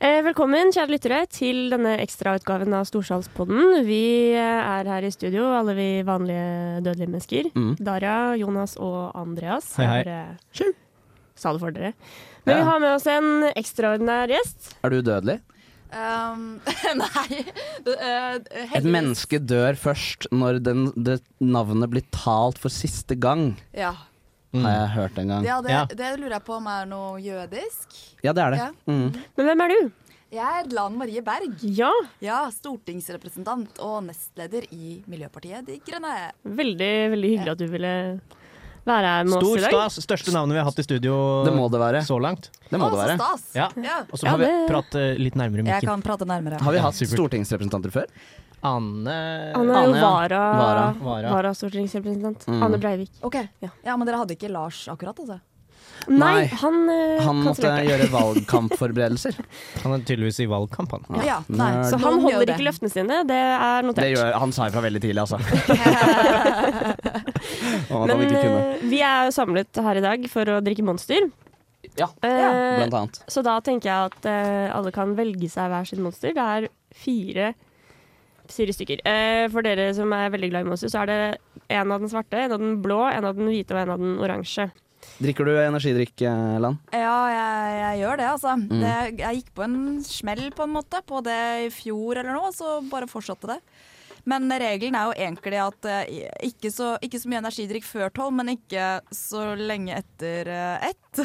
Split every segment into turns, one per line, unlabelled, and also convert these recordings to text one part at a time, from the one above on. Eh, Velkommen, kjære lyttere, til denne ekstrautgaven av Storsalspodden. Vi eh, er her i studio, alle vi vanlige dødelige mennesker.
Mm.
Daria, Jonas og Andreas.
Hei, hei.
Er, eh, Sa det for dere. Men vi
Ja.
har med oss en ekstraordinær gjest.
Er du dødelig?
Um, nei det, eh,
Et
heldigvis-
menneske dør først når den, det navnet blir talt for siste gang,
Ja,
har jeg hørt en gang.
ja, det,
Ja.
det lurer jeg på om er noe jødisk.
Ja, det er det.
Ja.
Mm.
Men hvem er du?
Jeg er Lan Marie Berg.
Ja,
Ja, stortingsrepresentant og nestleder i Miljøpartiet De Grønne.
veldig, veldig hyggelig at du ville være her med oss
Stor
i dag.
stas. Største navnet vi har hatt i studio
Det må det være.
så langt.
Det må
Å,
det
så
være.
stas!
Ja.
Ja.
Og så
Ja,
må vi
det-
prate litt nærmere
Jeg
mikken.
kan prate nærmere.
Har vi
Ja,
hatt
supert.
stortingsrepresentanter før?
Anne
Han er jo
Anne, ja.
vara,
Vara, Mm.
vara.
stortingsrepresentant. Anne Breivik.
Ok,
Ja.
ja. men dere hadde ikke Lars akkurat, altså?
Nei,
Nei,
han, eh,
Han måtte
kansellerte.
gjøre valgkampforberedelser.
Han er tydeligvis i valgkamp, han.
Ja, nei.
Nerd.
Så
Noen
han
gjør
holder
det.
ikke løftene sine, det er notert.
Det gjør, han sa ifra veldig tidlig, altså. Om at han
Men
ikke kunne.
eh, vi er jo samlet her i dag for å drikke Monster.
Ja,
Eh,
blant annet.
så da tenker jeg at eh, alle kan velge seg hver sin monster. Det er fire, fire stykker. Eh, for dere som er veldig glad i monster, så er det en av den svarte, en av den blå, en av den hvite og en av den oransje.
Drikker du energidrikk, eh, Lan?
Ja, jeg, jeg gjør det, altså. Det, jeg gikk på en smell på en måte på det i fjor eller noe, så bare fortsatte det. Men regelen er jo egentlig at eh, ikke så, ikke så mye energidrikk før tolv, men ikke så lenge etter eh, ett.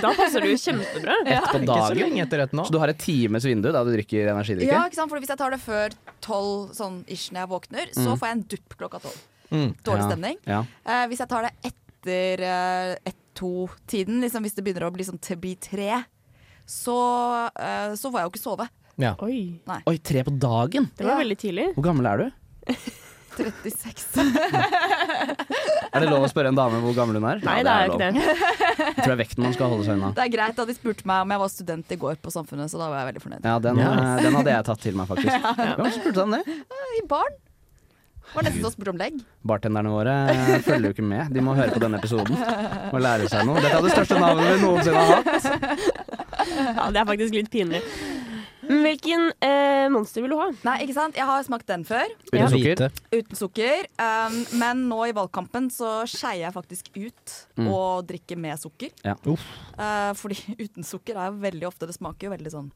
Da passer du kjempebra.
Ett på
Ikke så
dagen?
lenge etter ett nå.
Så du har et times vindu da du drikker energidrikke?
Ja, ikke sant? For hvis jeg tar det før tolv, sånn ish når jeg våkner, så får jeg en dupp klokka tolv.
Mm.
Dårlig
Ja.
stemning.
Ja.
Eh, hvis jeg tar det etter eh, ett-to-tiden, liksom hvis det begynner å bli, sånn, til å bli tre, så, eh, så får jeg jo ikke sove.
Ja.
Oi,
Oi, tre på dagen?
det var
Ja.
veldig tidlig.
Hvor gammel er du?
36.
Er det lov å spørre en dame hvor gammel hun er?
Nei,
Ja,
det er jo
lov.
ikke det.
Jeg tror det er vekten man skal holde seg unna.
Det er greit at de spurte meg om jeg var student i går på Samfunnet, så da var jeg veldig fornøyd.
Ja, den,
Ja.
eh, den hadde jeg tatt til meg, faktisk. Hvem spurte han det?
I barn. Var nesten så spurt om legg.
Bartenderne våre eh, følger jo ikke med. De må høre på denne episoden og lære seg noe. Dette er det største navnet vi noensinne har hatt.
Ja, det er faktisk litt pinlig. Men Hvilken eh, monster vil du ha?
Nei, ikke sant? Jeg har smakt den før,
Uten
Ja.
sukker.
Hvite.
uten sukker. Um, men nå i valgkampen så skeier jeg faktisk ut og drikker med sukker.
Uff.
Uh, fordi uten sukker er jo veldig ofte Det smaker jo veldig sånn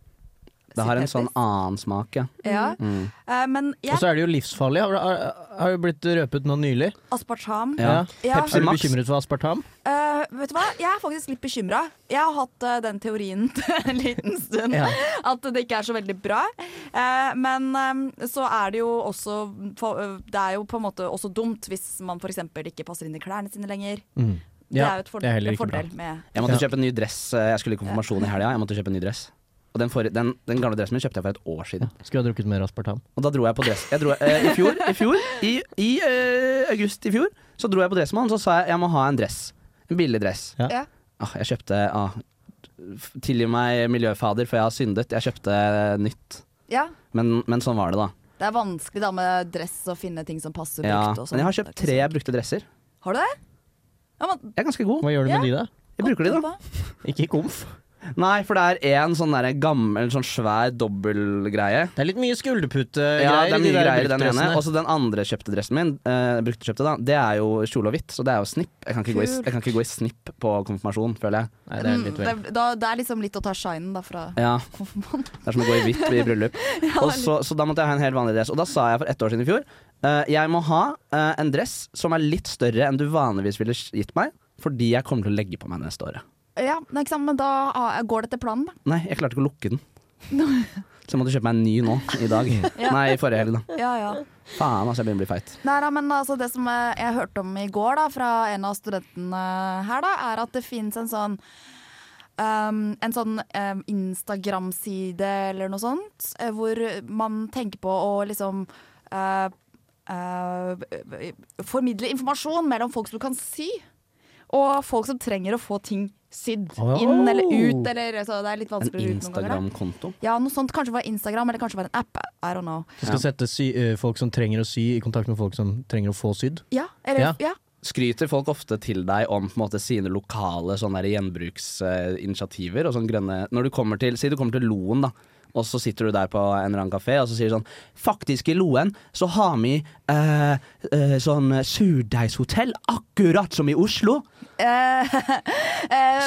Det har en sånn
syntetisk.
annen smak, ja.
Ja. Uh, men
Og
jeg
så er det jo livsfarlig. Har, har, har jo blitt røpet nå nylig.
Aspartam.
ja.
Ja.
Pepsi Er du
Max.
bekymret for aspartam?
Eh, vet du hva? Jeg er faktisk litt bekymra. Jeg har hatt eh, den teorien en liten stund.
Ja.
At det ikke er så veldig bra. Eh, men eh, så er det jo også for, eh, Det er jo på en måte også dumt hvis man f.eks. ikke passer inn i klærne sine lenger. det
Mm. Ja,
er jo et for
det er heller
en
ikke bra.
fordel med
Jeg måtte kjøpe en ny dress. eh, Jeg skulle i konfirmasjon i helga. Jeg måtte kjøpe en ny dress. Og den, forrige- den, den gamle dressen min kjøpte jeg for et år siden.
Skulle ha drukket mer aspartam.
Og da dro jeg på dress jeg dro, eh, I fjor, i, fjor i, i eh, august i fjor, så dro jeg på Dressmann, så sa jeg jeg må ha en dress. En billig dress.
Ja.
Ja.
Ah, jeg kjøpte ah, f- Tilgi meg miljøfader, for jeg har syndet. Jeg kjøpte eh, nytt.
Ja,
Men, men sånn var det, da.
det er vanskelig da med dress å finne ting som passer
Ja.
brukt. Og sånn.
Men jeg har kjøpt
Det er ikke
tre
så-
brukte dresser.
Har du det? Ja, men,
Jeg er ganske god.
Hva gjør du med de, da?
Jeg bruker de, da.
Ikke komf.
Nei, for det er én sånn derre gammel, sånn svær dobbeltgreie.
Det er litt mye skulderputegreier.
Ja, det er
Eh, i de
mye
der
greier i den ene.
bruktdressene.
Og så den andre kjøpte dressen min, eh, brukte kjøpte da, det er jo kjole og hvitt, så det er jo snipp. Jeg kan ikke, gå i, jeg kan ikke gå i snipp på konfirmasjon, føler jeg.
Nei, det er litt vel.
Mm, det, da, det er liksom litt å ta shinen da fra
Ja,
konfirmanten.
Det er som å gå i hvitt i bryllup. Og så, så da måtte jeg ha en helt vanlig dress. Og da sa jeg for ett år siden i fjor eh, jeg må ha eh, en dress som er litt større enn du vanligvis ville gitt meg, fordi jeg kommer til å legge på meg neste året.
Ja, nei, ikke sant, men da ah, går det etter planen, da.
Nei, jeg klarte ikke å lukke den. Så jeg måtte kjøpe meg en ny nå, i dag. Nei, i forrige helg, da.
Ja, ja.
Faen, altså, jeg begynner å bli feit.
Nei, da, men altså, det som eh, jeg hørte om i går da, fra en av studentene her, da, er at det finnes en sånn Um, en sånn um, Instagram-side eller noe sånt, eh, hvor man tenker på å liksom eh, eh, Formidle informasjon mellom folk som kan sy, og folk som trenger å få ting sydd inn eller ut. Eller, så det er litt
En
vanskeligere ut noen ganger. da.
Instagram-konto.
Ja, noe sånt. Kanskje det var Instagram, eller kanskje det var en app. I don't know.
Du skal sette sy, eh, folk som trenger å sy, i kontakt med folk som trenger å få sydd.
Ja,
Ja.
eller, ja.
skryter folk ofte til deg om på en måte, sine lokale sånne der gjenbruksinitiativer. og sånn grønne, når du kommer til, Si du kommer til Loen, da. Og så sitter du der på en eller annen kafé og så sier du sånn Faktisk, i Loen så har vi eh, eh, sånn surdeigshotell, akkurat som i Oslo.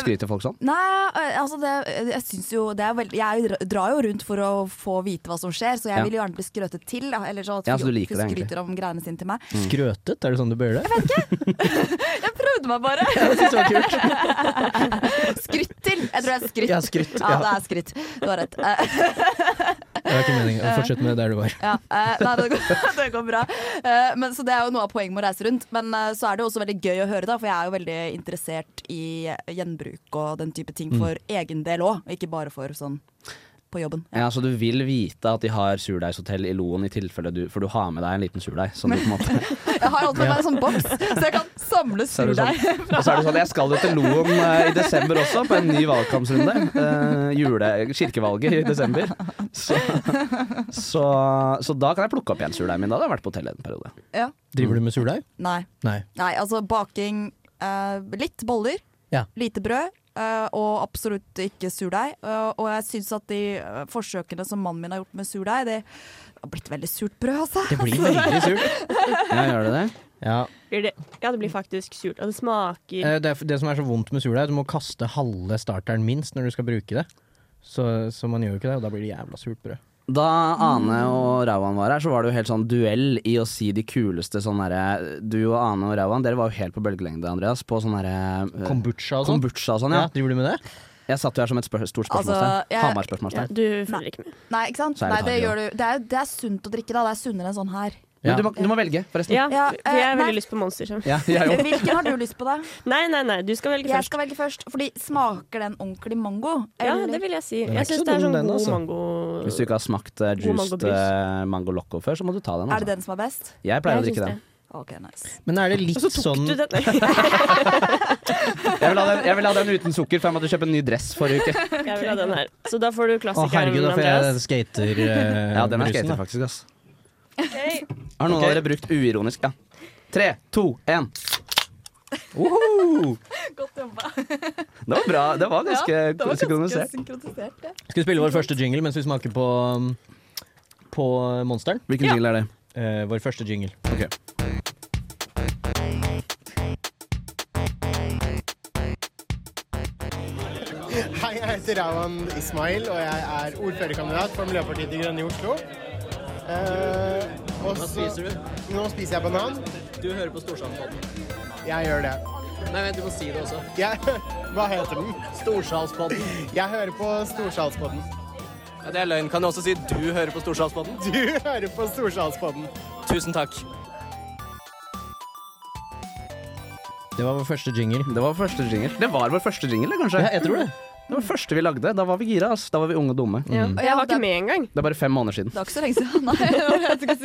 Skryter folk sånn?
Eh, Nei, eh, altså det, jeg syns jo det er veldig Jeg dra- drar jo rundt for å få vite hva som skjer, så jeg
Ja.
vil jo gjerne bli skrøtet til. Da, eller så at
Ja, så du
folk
liker det egentlig.
skryter om greiene sine til meg.
Mm.
Skrøtet, er det sånn du bøyer det?
Jeg prøvde meg bare!
Jeg synes det var kult.
Skrytt til! Jeg tror det er skrytt.
Ja, skrytt,
Ja,
ja.
det er skrytt. Du har rett. Eh,
Det var ikke meningen. Fortsett med der du var.
ja. eh, nei, det går, det går bra. Eh, men, så det er jo noe av poenget med å reise rundt. Men eh, så er det jo også veldig gøy å høre, da, for jeg er jo veldig interessert i gjenbruk og den type
Mm.
ting for egen del òg, og ikke bare for sånn på jobben.
Ja, Så du vil vite at de har surdeigshotell i Loen, i tilfelle du, for du har med deg en liten surdeig. Sånn, du på en måte-
Jeg har alltid med meg en sånn boks, så jeg kan samle
Så er det
surdeig.
Og så er det sånn, jeg skal jo til Loen eh, i desember også, på en ny valgkampsrunde. Eh, jule, kirkevalget i desember. Så, så, så da kan jeg plukke opp igjen surdeigen min. Da hadde jeg vært på hotellet en periode.
Ja.
Driver du med surdeig?
Nei.
Nei.
Nei, altså baking eh, Litt boller,
Ja.
lite brød eh, og absolutt ikke surdeig. Eh, og jeg syns at de eh, forsøkene som mannen min har gjort med surdeig, det har blitt veldig surt brød, altså.
Det blir veldig surt.
Ja, gjør det det?
Ja.
Blir det, ja, det blir faktisk surt. Og det smaker
Eh, Det, er f- det som er så vondt med surdeig, er at du må kaste halve starteren minst når du skal bruke det. Så, så man gjør jo ikke det, og da blir det jævla surt brød.
Da Ane og Rauan var her, så var det jo helt sånn duell i å si de kuleste sånn herre Du og Ane og Rauan, dere var jo helt på bølgelengde, Andreas, på sånn herre eh,
Kombucha og sånn.
kombucha og sånn.
Ja,
Ja.
driver du med det?
Jeg satt jo her som et spør stort
Altså,
spørsmålstegn.
jeg-
ja,
Hamar-spørsmålstegn.
Du følger ikke med.
Nei, ikke sant?
Så er
Nei,
det
det,
farlig,
gjør du. Det, er, det er sunt å drikke, da. Det er sunnere enn sånn her.
Men Du, må, du må velge, forresten.
Ja,
Ja,
for jeg
eh,
har
nei.
veldig lyst på Monster. så.
Ja, jeg òg.
Hvilken har du lyst på, da?
Nei, nei, nei, du skal velge
Jeg
først.
skal velge først. Fordi smaker den ordentlig mango?
Ja,
Eller-
det vil jeg si.
Den er
Jeg syns
ikke så
det er
dum,
sånn
den,
god
altså.
mango
Hvis du ikke har smakt eh,
God
juiced
mangobrus.
eh, mango loco før, så må du ta den.
Er
Altså.
det den som er best?
Jeg pleier å
Jeg
drikke
syns
den.
OK, nice.
Men er det litt sånn
det. Du, den.
Jeg vil, ha den, jeg vil ha den uten sukker, for jeg måtte kjøpe en ny dress forrige uke.
Jeg vil ha den her. Så da får du
Å
klassikeren,
herregud, da får jeg eh,
Andreas.
skaterbrusen.
Ja, den er skater faktisk, ass.
Ok.
Har noen av dere brukt uironisk? Ja. Tre, to, én. Uhu!
Godt jobba.
Det var bra. Det var ganske synkronisert.
synkronisert. Ja.
Skal vi spille vår første jingle mens vi smaker på, um, på monsteren?
Hvilken jingle er det?
Eh, vår første jingle.
Ok.
Hei, jeg heter Rawan Ismail, og jeg er ordførerkandidat for Miljøpartiet De Grønne i Oslo. Eh, og
Hva
så-
spiser du?
Nå spiser jeg banan.
Du hører på Storsalspodden.
Jeg gjør det.
Nei, vent, du må si det også.
Jeg, hva heter den?
Storsalspodden.
Jeg hører på Storsalspodden.
Ja, det er løgn. Kan du også si du hører på Storsalspodden?
Du hører på Storsalspodden.
Tusen takk.
Det var vår første jingle.
Det var første jingle. Det var vår første jingle, kanskje?
Ja, jeg tror det.
Det var første vi lagde. Da var vi gira. ass. Da var vi unge og dumme.
Ja. Og jeg var
det-
ikke med engang.
Det er bare fem måneder siden.
Det er ikke så lenge siden. Nei, jeg vet ikke hva jeg skal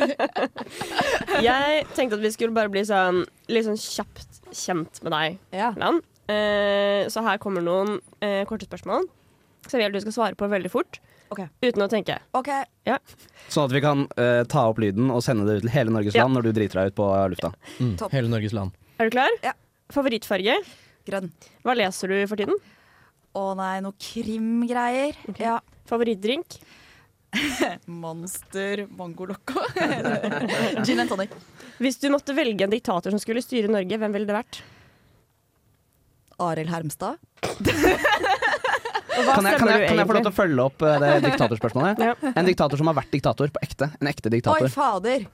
si.
Jeg tenkte at vi skulle bare bli sånn litt sånn kjapt kjent med deg,
Ja.
Erland. Eh, så her kommer noen eh, korte spørsmål som jeg vil at du skal svare på veldig fort.
Ok.
Uten å tenke.
OK.
Sånn at vi kan eh, ta opp lyden og sende det ut til hele Norges
Ja.
land når du driter deg ut på lufta.
Mm.
Topp.
Hele Norges land.
Er du klar?
Ja.
Favorittfarge?
Grønn.
Hva leser du for tiden?
Å nei, noe krimgreier. Ja.
Favorittdrink?
Monster mango loco. Gin and tonic.
Hvis du måtte velge en diktator som skulle styre Norge, hvem ville det vært?
Arild Hermstad.
Og hva
Kan jeg, kan,
stemmer
jeg,
du
kan jeg få lov til
egentlig?
å følge opp eh, det diktatorspørsmålet?
Ja.
En diktator som har vært diktator på ekte. En ekte
Oi,
diktator.
fader.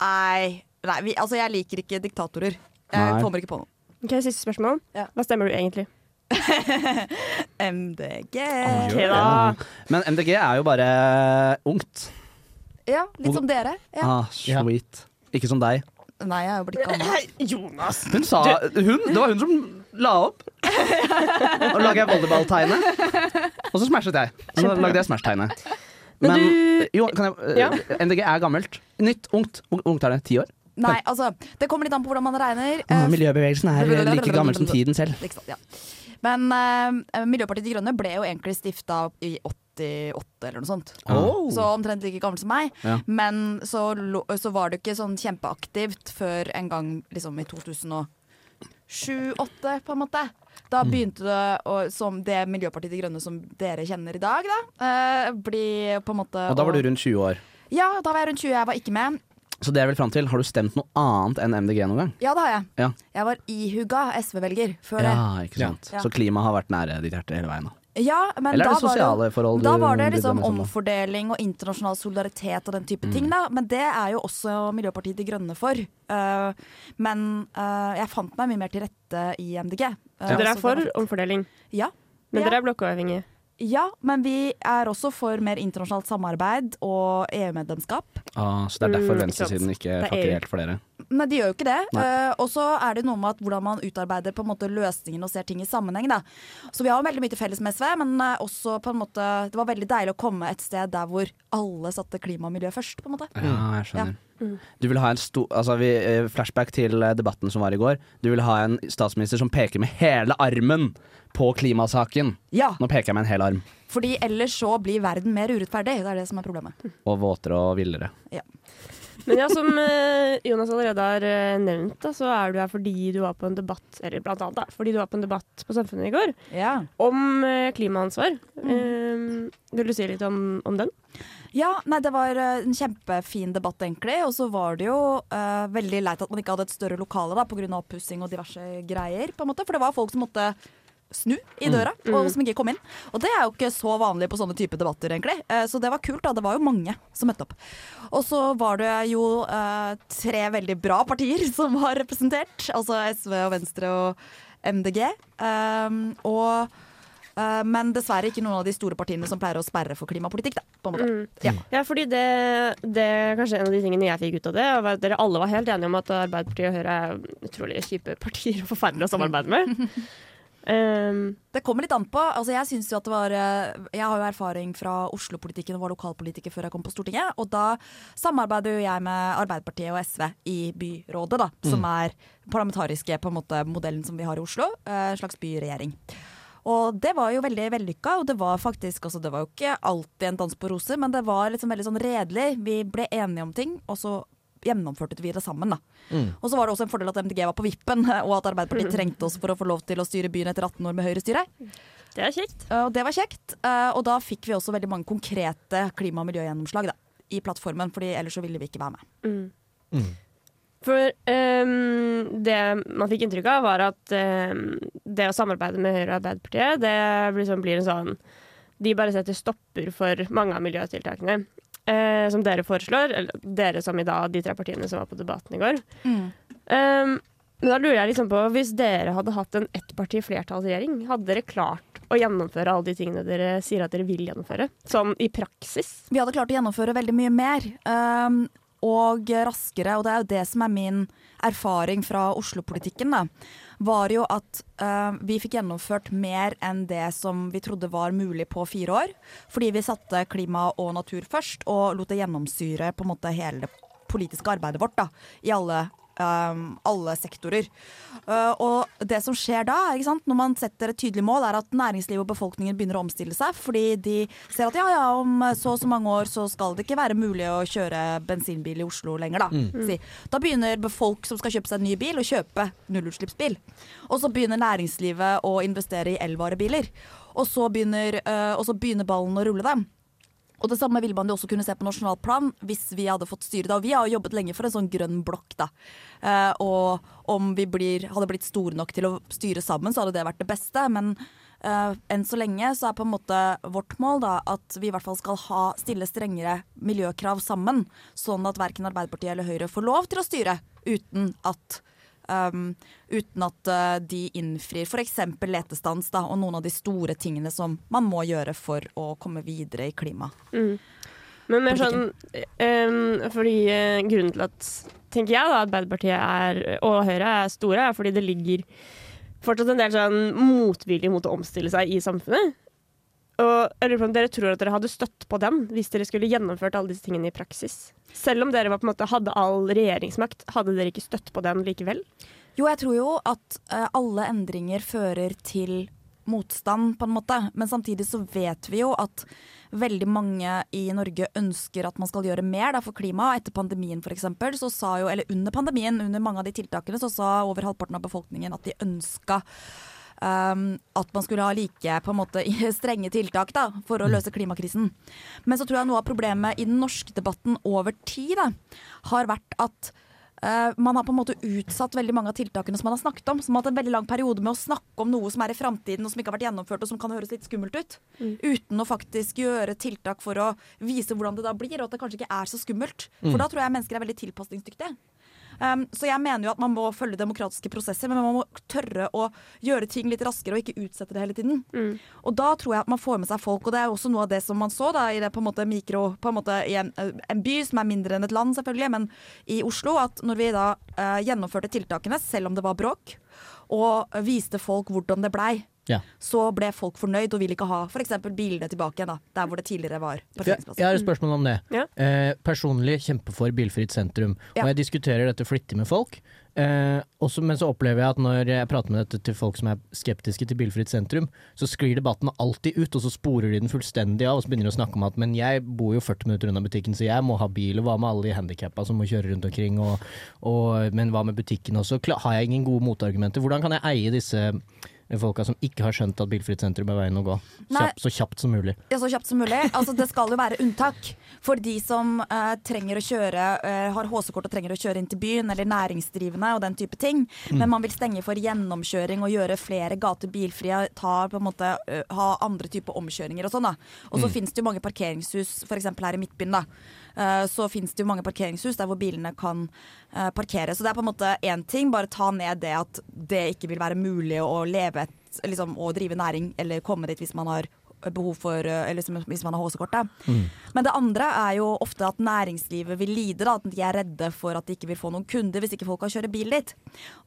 Nei, nei vi, altså jeg liker ikke diktatorer. Jeg
Nei.
kommer ikke på noe.
Ok, Siste spørsmål.
Ja.
Hva stemmer du egentlig?
MDG.
Ok, da.
Men MDG er jo bare eh, ungt.
Ja, litt som dere. Ja.
Ah, sweet. Ikke som deg.
Nei, jeg er jo blitt gammel.
Jonas!
Hun sa Hun! Det var hun som la opp. Og lager jeg volleyballtegnet. Og så smashet jeg. Så lagde jeg smash-tegnet.
Men
Men
du-
jo, kan jeg,
Ja.
eh, MDG er gammelt. Nytt, ungt. Ung- Ungt er det. Ti år.
Nei, altså, det kommer litt an på hvordan man regner.
Ah,
Eh,
Miljøbevegelsen er like gammel som tiden selv.
Ikke sant, ja. Men eh, Miljøpartiet De Grønne ble jo egentlig stifta i 88 eller noe sånt.
Oh.
Så omtrent like gammel som meg.
Ja.
Men så, lo- så var det jo ikke sånn kjempeaktivt før en gang liksom, i 2005 sju-åtte, på en måte. Da
Mm.
begynte det å, som det Miljøpartiet De Grønne som dere kjenner i dag, da, eh, bli på en måte
Og da var du rundt 20 år.
Ja, da var jeg rundt 20. Jeg var ikke med.
Så det jeg vil fram til, har du stemt noe annet enn MDG noen gang?
Ja, det har jeg.
Ja.
Jeg var ihuga SV-velger før det.
Ja, ikke sant.
Ja.
Så klimaet har vært nære ditt hjerte hele veien. Da.
Ja, men
Eller er
da
det sosiale
var det,
forhold du
Da var det
blir
liksom
blandet sammen med? Mm.
omfordeling og internasjonal solidaritet og den type ting, da. Men det er jo også Miljøpartiet De Grønne for. Eh, men eh, jeg fant meg mye mer til rette i MDG. Eh,
Så dere
så
er for
det var-
omfordeling,
Ja.
men
Ja.
dere er blokkuavhengige.
ja, men vi er også for mer internasjonalt samarbeid og E EU-medlemskap.
Ah, så det er derfor
Mm, ikke sant.
venstresiden ikke
Det er
fucker
EU.
helt for dere.
Nei, de gjør jo ikke det.
Nei.
Eh, og så er det noe med at hvordan man utarbeider på en måte løsningen og ser ting i sammenheng. Da. Så vi har jo veldig mye til felles med SV, men eh, også på en måte Det var veldig deilig å komme et sted der hvor alle satte klima og miljø først, på en måte.
Ja, jeg skjønner.
Mm.
Du vil ha en sto altså, vi, eh, Flashback til eh, debatten som var i går. Du vil ha en statsminister som peker med hele armen på klimasaken.
Ja,
Nå peker jeg med en hel arm.
fordi ellers så blir verden mer urettferdig. Det er det som er problemet.
Og våtere og villere.
Men ja, som eh, Jonas allerede har eh, nevnt, da, så er du her fordi du var på en debatt eller blant annet da, fordi du var på en debatt på Samfunnet i går
Ja.
om eh, klimaansvar.
Mm.
Eh, vil du si litt om, om den?
Ja, nei, det var eh, en kjempefin debatt, egentlig. Og så var det jo eh, veldig leit at man ikke hadde et større lokale da, pga. oppussing og diverse greier. på en måte, For det var folk som måtte snu i døra, og som ikke kom inn. Og det er jo ikke så vanlig på sånne type debatter, egentlig. Eh, så det var kult. da, Det var jo mange som møtte opp. Og så var det jo eh, tre veldig bra partier som var representert. Altså SV og Venstre og MDG. Um, og eh, men dessverre ikke noen av de store partiene som pleier å sperre for klimapolitikk. Da, på en måte.
Ja, fordi det, det er kanskje en av de tingene jeg fikk ut av det, var at dere alle var helt enige om at Arbeiderpartiet og Høyre er utrolig kjipe partier og forferdelige å samarbeide med. Eh,
Det kommer litt an på. Altså, jeg, synes jo at det var, eh, jeg har jo erfaring fra Oslo-politikken og var lokalpolitiker før jeg kom på Stortinget. Og da samarbeider jo jeg med Arbeiderpartiet og SV i byrådet, da, som er parlamentariske på en måte, modellen som vi har i Oslo. eh, En slags byregjering. Og det var jo veldig vellykka, og det var faktisk altså, Det var jo ikke alltid en dans på roser, men det var liksom veldig sånn redelig. Vi ble enige om ting, og så gjennomførte vi det sammen, da. Og så var det også en fordel at MDG var på vippen, og at Arbeiderpartiet trengte oss for å få lov til å styre byen etter 18 år med Høyre-styre.
det er kjekt.
Eh, Og det var kjekt. Eh, Og da fikk vi også veldig mange konkrete klima- og miljøgjennomslag da, i plattformen, fordi ellers så ville vi ikke være med.
For ehm, det man fikk inntrykk av, var at ehm, det å samarbeide med Høyre og Arbeiderpartiet, det blir, sånn, blir en sånn De bare setter stopper for mange av miljøtiltakene eh, som dere foreslår. Eller dere som i dag, de tre partiene som var på debatten i går. Ehm, men da lurer jeg liksom på, hvis dere hadde hatt en ettparti flertallsregjering, hadde dere klart å gjennomføre alle de tingene dere sier at dere vil gjennomføre? Sånn i praksis?
Vi hadde klart å gjennomføre veldig mye mer. ehm, og raskere, og det er jo det som er min erfaring fra Oslo-politikken, da, var jo at eh, vi fikk gjennomført mer enn det som vi trodde var mulig på fire år. Fordi vi satte klima og natur først, og lot det gjennomsyre på en måte hele det politiske arbeidet vårt da, i alle, ehm, alle sektorer. Eh, og det som skjer da, ikke sant, når man setter et tydelig mål, er at næringslivet og befolkningen begynner å omstille seg, fordi de ser at ja, ja, om så og så mange år så skal det ikke være mulig å kjøre bensinbil i Oslo lenger, da. Si. Da begynner folk som skal kjøpe seg en ny bil, å kjøpe nullutslippsbil. Og så begynner næringslivet å investere i elvarebiler. Og så begynner, eh, og så begynner ballen å rulle dem. Og det samme ville man jo også kunne se på nasjonalt plan hvis vi hadde fått styre da. Og vi har jo jobbet lenge for en sånn grønn blokk, da. Eh, og om vi blir, hadde blitt store nok til å styre sammen, så hadde det vært det beste. Men eh, enn så lenge så er på en måte vårt mål da at vi i hvert fall skal ha stille strengere miljøkrav sammen. Sånn at verken Arbeiderpartiet eller Høyre får lov til å styre uten at Um, uten at eh, de innfrir f.eks. letestans da, og noen av de store tingene som man må gjøre for å komme videre i klima.
Men mer sånn ehm, Fordi eh, grunnen til at Tenker jeg da Arbeiderpartiet er, og Høyre er store, er fordi det ligger fortsatt en del sånn motvilje mot å omstille seg i samfunnet. Og jeg lurer på om dere tror at dere hadde støtt på den hvis dere skulle gjennomført alle disse tingene i praksis. Selv om dere var på en måte hadde all regjeringsmakt, hadde dere ikke støtt på den likevel?
Jo, jeg tror jo at eh, alle endringer fører til motstand, på en måte. Men samtidig så vet vi jo at veldig mange i Norge ønsker at man skal gjøre mer da, for klimaet. Etter pandemien for eksempel, så sa jo, eller under pandemien, under mange av de tiltakene, så sa over halvparten av befolkningen at de ønska um, at man skulle ha like på en måte, strenge tiltak da, for å løse klimakrisen. Men så tror jeg noe av problemet i den norske debatten over tid da, har vært at eh, man har på en måte utsatt veldig mange av tiltakene som man har snakket om. Som har hatt en veldig lang periode med å snakke om noe som er i framtiden og som ikke har vært gjennomført og som kan høres litt skummelt ut. Uten å faktisk gjøre tiltak for å vise hvordan det da blir, og at det kanskje ikke er så skummelt. For da tror jeg mennesker er veldig tilpasningsdyktige. Um, så jeg mener jo at man må følge demokratiske prosesser, men man må tørre å gjøre ting litt raskere og ikke utsette det hele tiden. Og da tror jeg at man får med seg folk, og det er jo også noe av det som man så da, i det på en måte mikro, på en måte i en, en by som er mindre enn et land selvfølgelig, men i Oslo, at når vi da eh, gjennomførte tiltakene, selv om det var bråk, og viste folk hvordan det blei,
Ja.
så ble folk fornøyd og ville ikke ha f.eks. bilene tilbake igjen, da, der hvor det tidligere var
Jeg, jeg
parkeringsplass.
har et spørsmål om det.
Ja.
Eh, personlig kjempe for bilfritt sentrum,
Ja.
og jeg diskuterer dette flittig med folk. Eh, også, men så opplever jeg at når jeg prater med dette til folk som er skeptiske til bilfritt sentrum, så sklir debatten alltid ut, og så sporer de den fullstendig av, og så begynner de å snakke om at men jeg bor jo 40 minutter unna butikken, så jeg må ha bil, og hva med alle de handikappa som må kjøre rundt omkring, og, og, men hva med butikken også? Kla- har jeg ingen gode motargumenter? Hvordan kan jeg eie disse folka som ikke har skjønt at bilfritt sentrum er veien å gå,
Nei.
kjapt, så kjapt som mulig?
Ja, så kjapt som mulig. Altså, det skal jo være unntak for de som eh, trenger å kjøre, eh, har HC-kort og trenger å kjøre inn til byen, eller næringsdrivende og den type ting. Men man vil stenge for gjennomkjøring og gjøre flere gater bilfrie, ta, på en måte, eh, ha andre typer omkjøringer og sånn. da. Og så finnes det jo mange parkeringshus, f.eks. her i Midtbyen. da. Eh, så finnes det jo mange parkeringshus der hvor bilene kan eh, parkere. Så det er på en måte én ting, bare ta ned det at det ikke vil være mulig å leve et, liksom, å drive næring eller komme dit hvis man har behov for eh, eller som, hvis man har HC-kort. da. Men det andre er jo ofte at næringslivet vil lide. Da, at de er redde for at de ikke vil få noen kunder hvis ikke folk kan kjøre bil dit.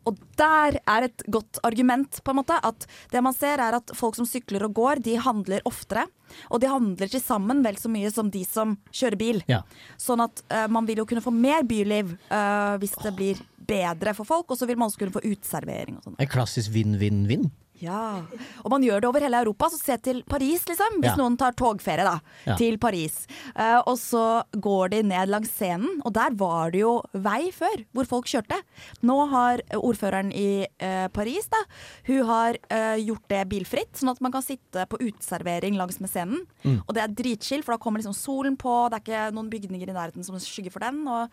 Og der er et godt argument, på en måte. At det man ser er at folk som sykler og går, de handler oftere. Og de handler til sammen vel så mye som de som kjører bil.
Ja.
Sånn at eh, man vil jo kunne få mer byliv eh, hvis det blir bedre for folk. Og så vil man også kunne få uteservering og sånn.
En klassisk vinn-vinn-vinn.
Ja, og man gjør det over hele Europa. Så se til Paris, liksom. Hvis
Ja.
noen tar togferie da,
Ja.
til Paris. Eh, og så går de ned langs scenen, og der var det jo vei før, hvor folk kjørte. Nå har ordføreren i eh, Paris da, hun har eh, gjort det bilfritt, sånn at man kan sitte på uteservering langs med scenen. Og det er dritchill, for da kommer liksom solen på, det er ikke noen bygninger i nærheten som skygger for den. Og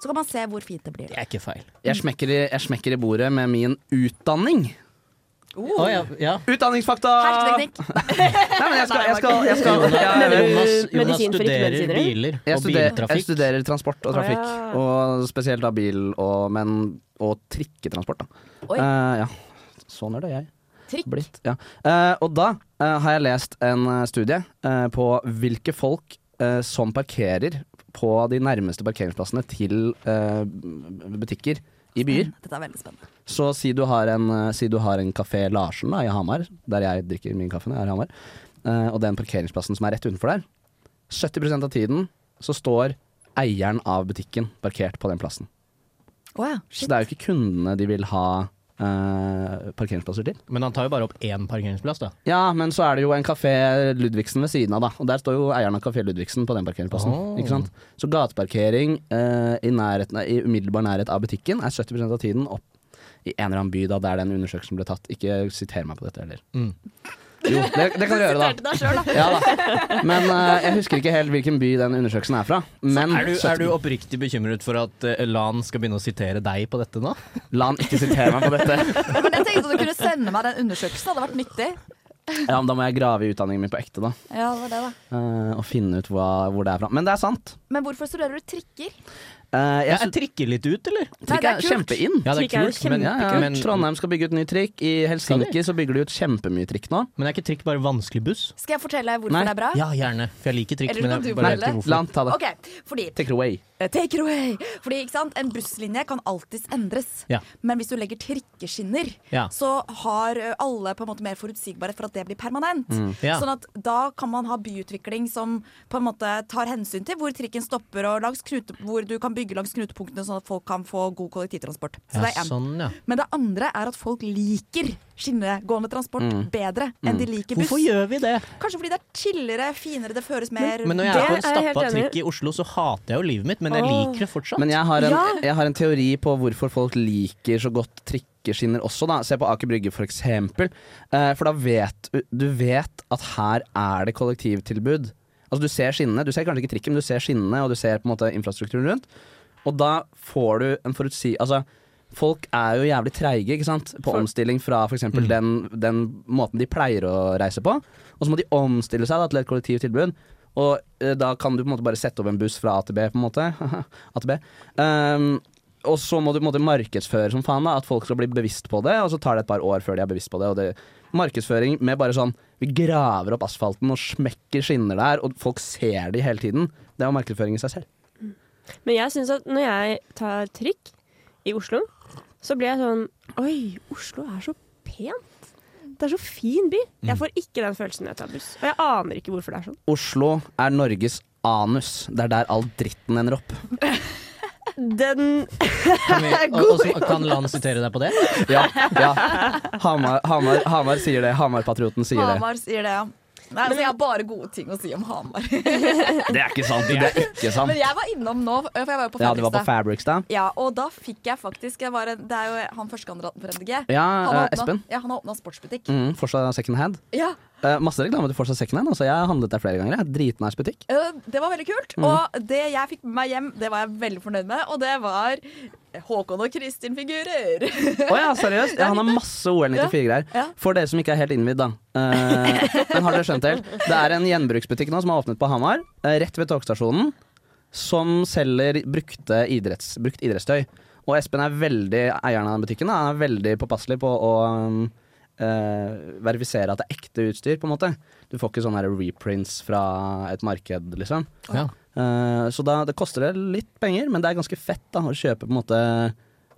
så kan man se hvor fint det blir.
Det er ikke feil.
Jeg
Mm.
smekker, i, jeg smekker i bordet med min utdanning.
Å ja, ja.
Utdanningsfakta!
Hersketeknikk.
Nei, men jeg skal, jeg skal, jeg skal,
Jonas,
jeg
Mener du
Jonas, Jonas
medisin for
studerer
ikke-medisinere?
biler
Jeg
og
studerer, jeg
biltrafikk.
studerer transport
Å,
og
ja.
trafikk, og spesielt da bil og, men, og trikketransport. Da.
Oi.
Eh, ja. Sånn er det jeg
Trikk?
blitt. Ja. Eh, og da eh, har jeg lest en eh, studie eh, på hvilke folk eh, som parkerer på de nærmeste parkeringsplassene til eh, butikker i byer.
Dette er veldig spennende.
Så si du har en, eh, si du har en kafé Larsen da, i Hamar, der jeg drikker min kaffe når jeg er i Hamar, eh, og den parkeringsplassen som er rett utenfor der, 70 av tiden så står eieren av butikken parkert på den plassen.
Å ja,
Så
shit.
det er jo ikke kundene de vil ha eh, parkeringsplasser til.
Men han tar jo bare opp én parkeringsplass, da.
Ja, men så er det jo en kafé Ludvigsen ved siden av, da. Og der står jo eieren av kafé Ludvigsen på den parkeringsplassen.
Oh.
Ikke sant? Så gateparkering eh, i, nærheten, i umiddelbar nærhet av butikken er 70 av tiden opp i en eller annen by da, der den undersøkelsen ble tatt. Ikke siter meg på dette heller.
Mm.
Jo, det, det kan du gjøre,
Siterte
da.
deg selv, da.
Ja, da. Men eh, jeg husker ikke helt hvilken by den undersøkelsen er fra. Men
Er du, er
70
du oppriktig bekymret for at eh, Lan skal begynne å sitere deg på dette nå?
La han ikke sitere meg på dette.
Men jeg tenkte at du kunne sende meg den undersøkelsen. Det hadde vært nyttig.
Ja, men Da må jeg grave i utdanningen min på ekte, da.
Ja, det var det da
eh, og finne ut hva, hvor det er fra. Men det er sant.
Men hvorfor studerer du trikker?
Eh, jeg
Jeg trikker litt ut, eller?
Nei, det er
er
kult.
kjempeinn.
Ja,
Trikk er jo
men,
Ja, ja.
men, men
Trondheim skal bygge ut ny trikk. I Helsinki så bygger de ut kjempemye trikk nå.
er ikke trikk bare vanskelig buss?
Skal jeg fortelle deg hvorfor
Nei.
det er bra?
Ja, gjerne. For jeg liker trikk,
Eller
men
kan du
jeg bare vet
fortelle?
ikke hvorfor.
La han ta det.
Ok, fordi
Take it away.
eh, Take it away! Fordi, ikke sant, En busslinje kan alltids endres.
Ja.
Men hvis du legger trikkeskinner,
Ja.
så har eh, alle på en måte mer forutsigbarhet for at det blir permanent.
Ja.
Sånn at da kan man ha byutvikling som på en måte tar hensyn til hvor trikken stopper, og langs knute, hvor du kan bygge langs knutepunktene, sånn at folk kan få god kollektivtransport. Så
Ja,
det er en.
sånn, ja.
Men det andre er at folk liker skinnegående transport
Mm.
bedre enn de liker buss.
Hvorfor gjør vi det?
Kanskje fordi det er chillere, finere, det føres mer
Men når jeg
Det
er på
er
en
jeg helt
stappa
enig i.
trikk i Oslo, så hater jeg jo livet mitt, men jeg
Åh.
liker det fortsatt.
Men jeg har, en,
Ja.
jeg har en teori på hvorfor folk liker så godt trikkeskinner også. Da. Se på Aker Brygge, for eksempel. Eh, for da vet du- du vet at her er det kollektivtilbud. Altså Du ser skinnene, du ser kanskje ikke trikken, men du ser skinnene og du ser på en måte infrastrukturen rundt. Og da får du en forutsi... Altså, folk er jo jævlig treige ikke sant? på omstilling fra f.eks. eksempel Den, den måten de pleier å reise på. Og så må de omstille seg da, til et kollektivtilbud. Og eh, da kan du på en måte bare sette opp en buss fra A til B, på en måte. A til B. Ehm, og så må du på en måte markedsføre som faen, da, at folk skal bli bevisst på det. Og så tar det et par år før de er bevisst på det. Og det markedsføring med bare sånn Vi graver opp asfalten og smekker skinner der, og folk ser de hele tiden. Det er jo markedsføring i seg selv.
Men jeg synes at når jeg tar trikk i Oslo, så blir jeg sånn Oi, Oslo er så pent. Det er så fin by. Jeg får ikke den følelsen når jeg tar buss. Og jeg aner ikke hvorfor det er sånn.
Oslo er Norges anus. Det er der all dritten ender opp.
Den
Kan, vi, og, og, så kan Lan sitere deg på det?
Ja, ja. Hamar, Hamar, Hamar sier det. Hamarpatrioten sier det.
Hamar sier det, ja. Nei, altså, jeg har bare gode ting å si om Hamar.
Det er ikke sant! Det er ikke sant.
Men jeg var innom nå, for jeg var jo på
Ja, du var på
Fredrikstad.
Fabrics da?
Ja, og da fikk jeg faktisk jeg var en, Det er jo han førstekandidaten for MDG.
Ja,
han har
eh,
åpnet-
Espen.
Ja, han har åpna sportsbutikk.
Mm, Forsa second hand.
Ja,
Eh, masse reklame til Forsa second hand. Altså, jeg har handlet der flere ganger. jeg. Dritnice butikk.
eh, Det var veldig kult.
Mm.
Og det jeg fikk med meg hjem, det var jeg veldig fornøyd med, og det var Håkon og Kristin-figurer.
Å ja, seriøst? Ja, han har masse OL 94-greier.
Ja.
For dere som ikke er helt innvidd, da. Eh, men har dere skjønt det helt? Det er en gjenbruksbutikk nå som har åpnet på Hamar, eh, rett ved togstasjonen, som selger brukte idretts, brukt idrettstøy. Og Espen er veldig eieren av den butikken. Da. Han er veldig påpasselig på å um, eh, verifisere at det er ekte utstyr, på en måte. Du får ikke sånne her reprints fra et marked, liksom.
Ja.
Eh, Så da, det koster det litt penger, men det er ganske fett da, å kjøpe på en måte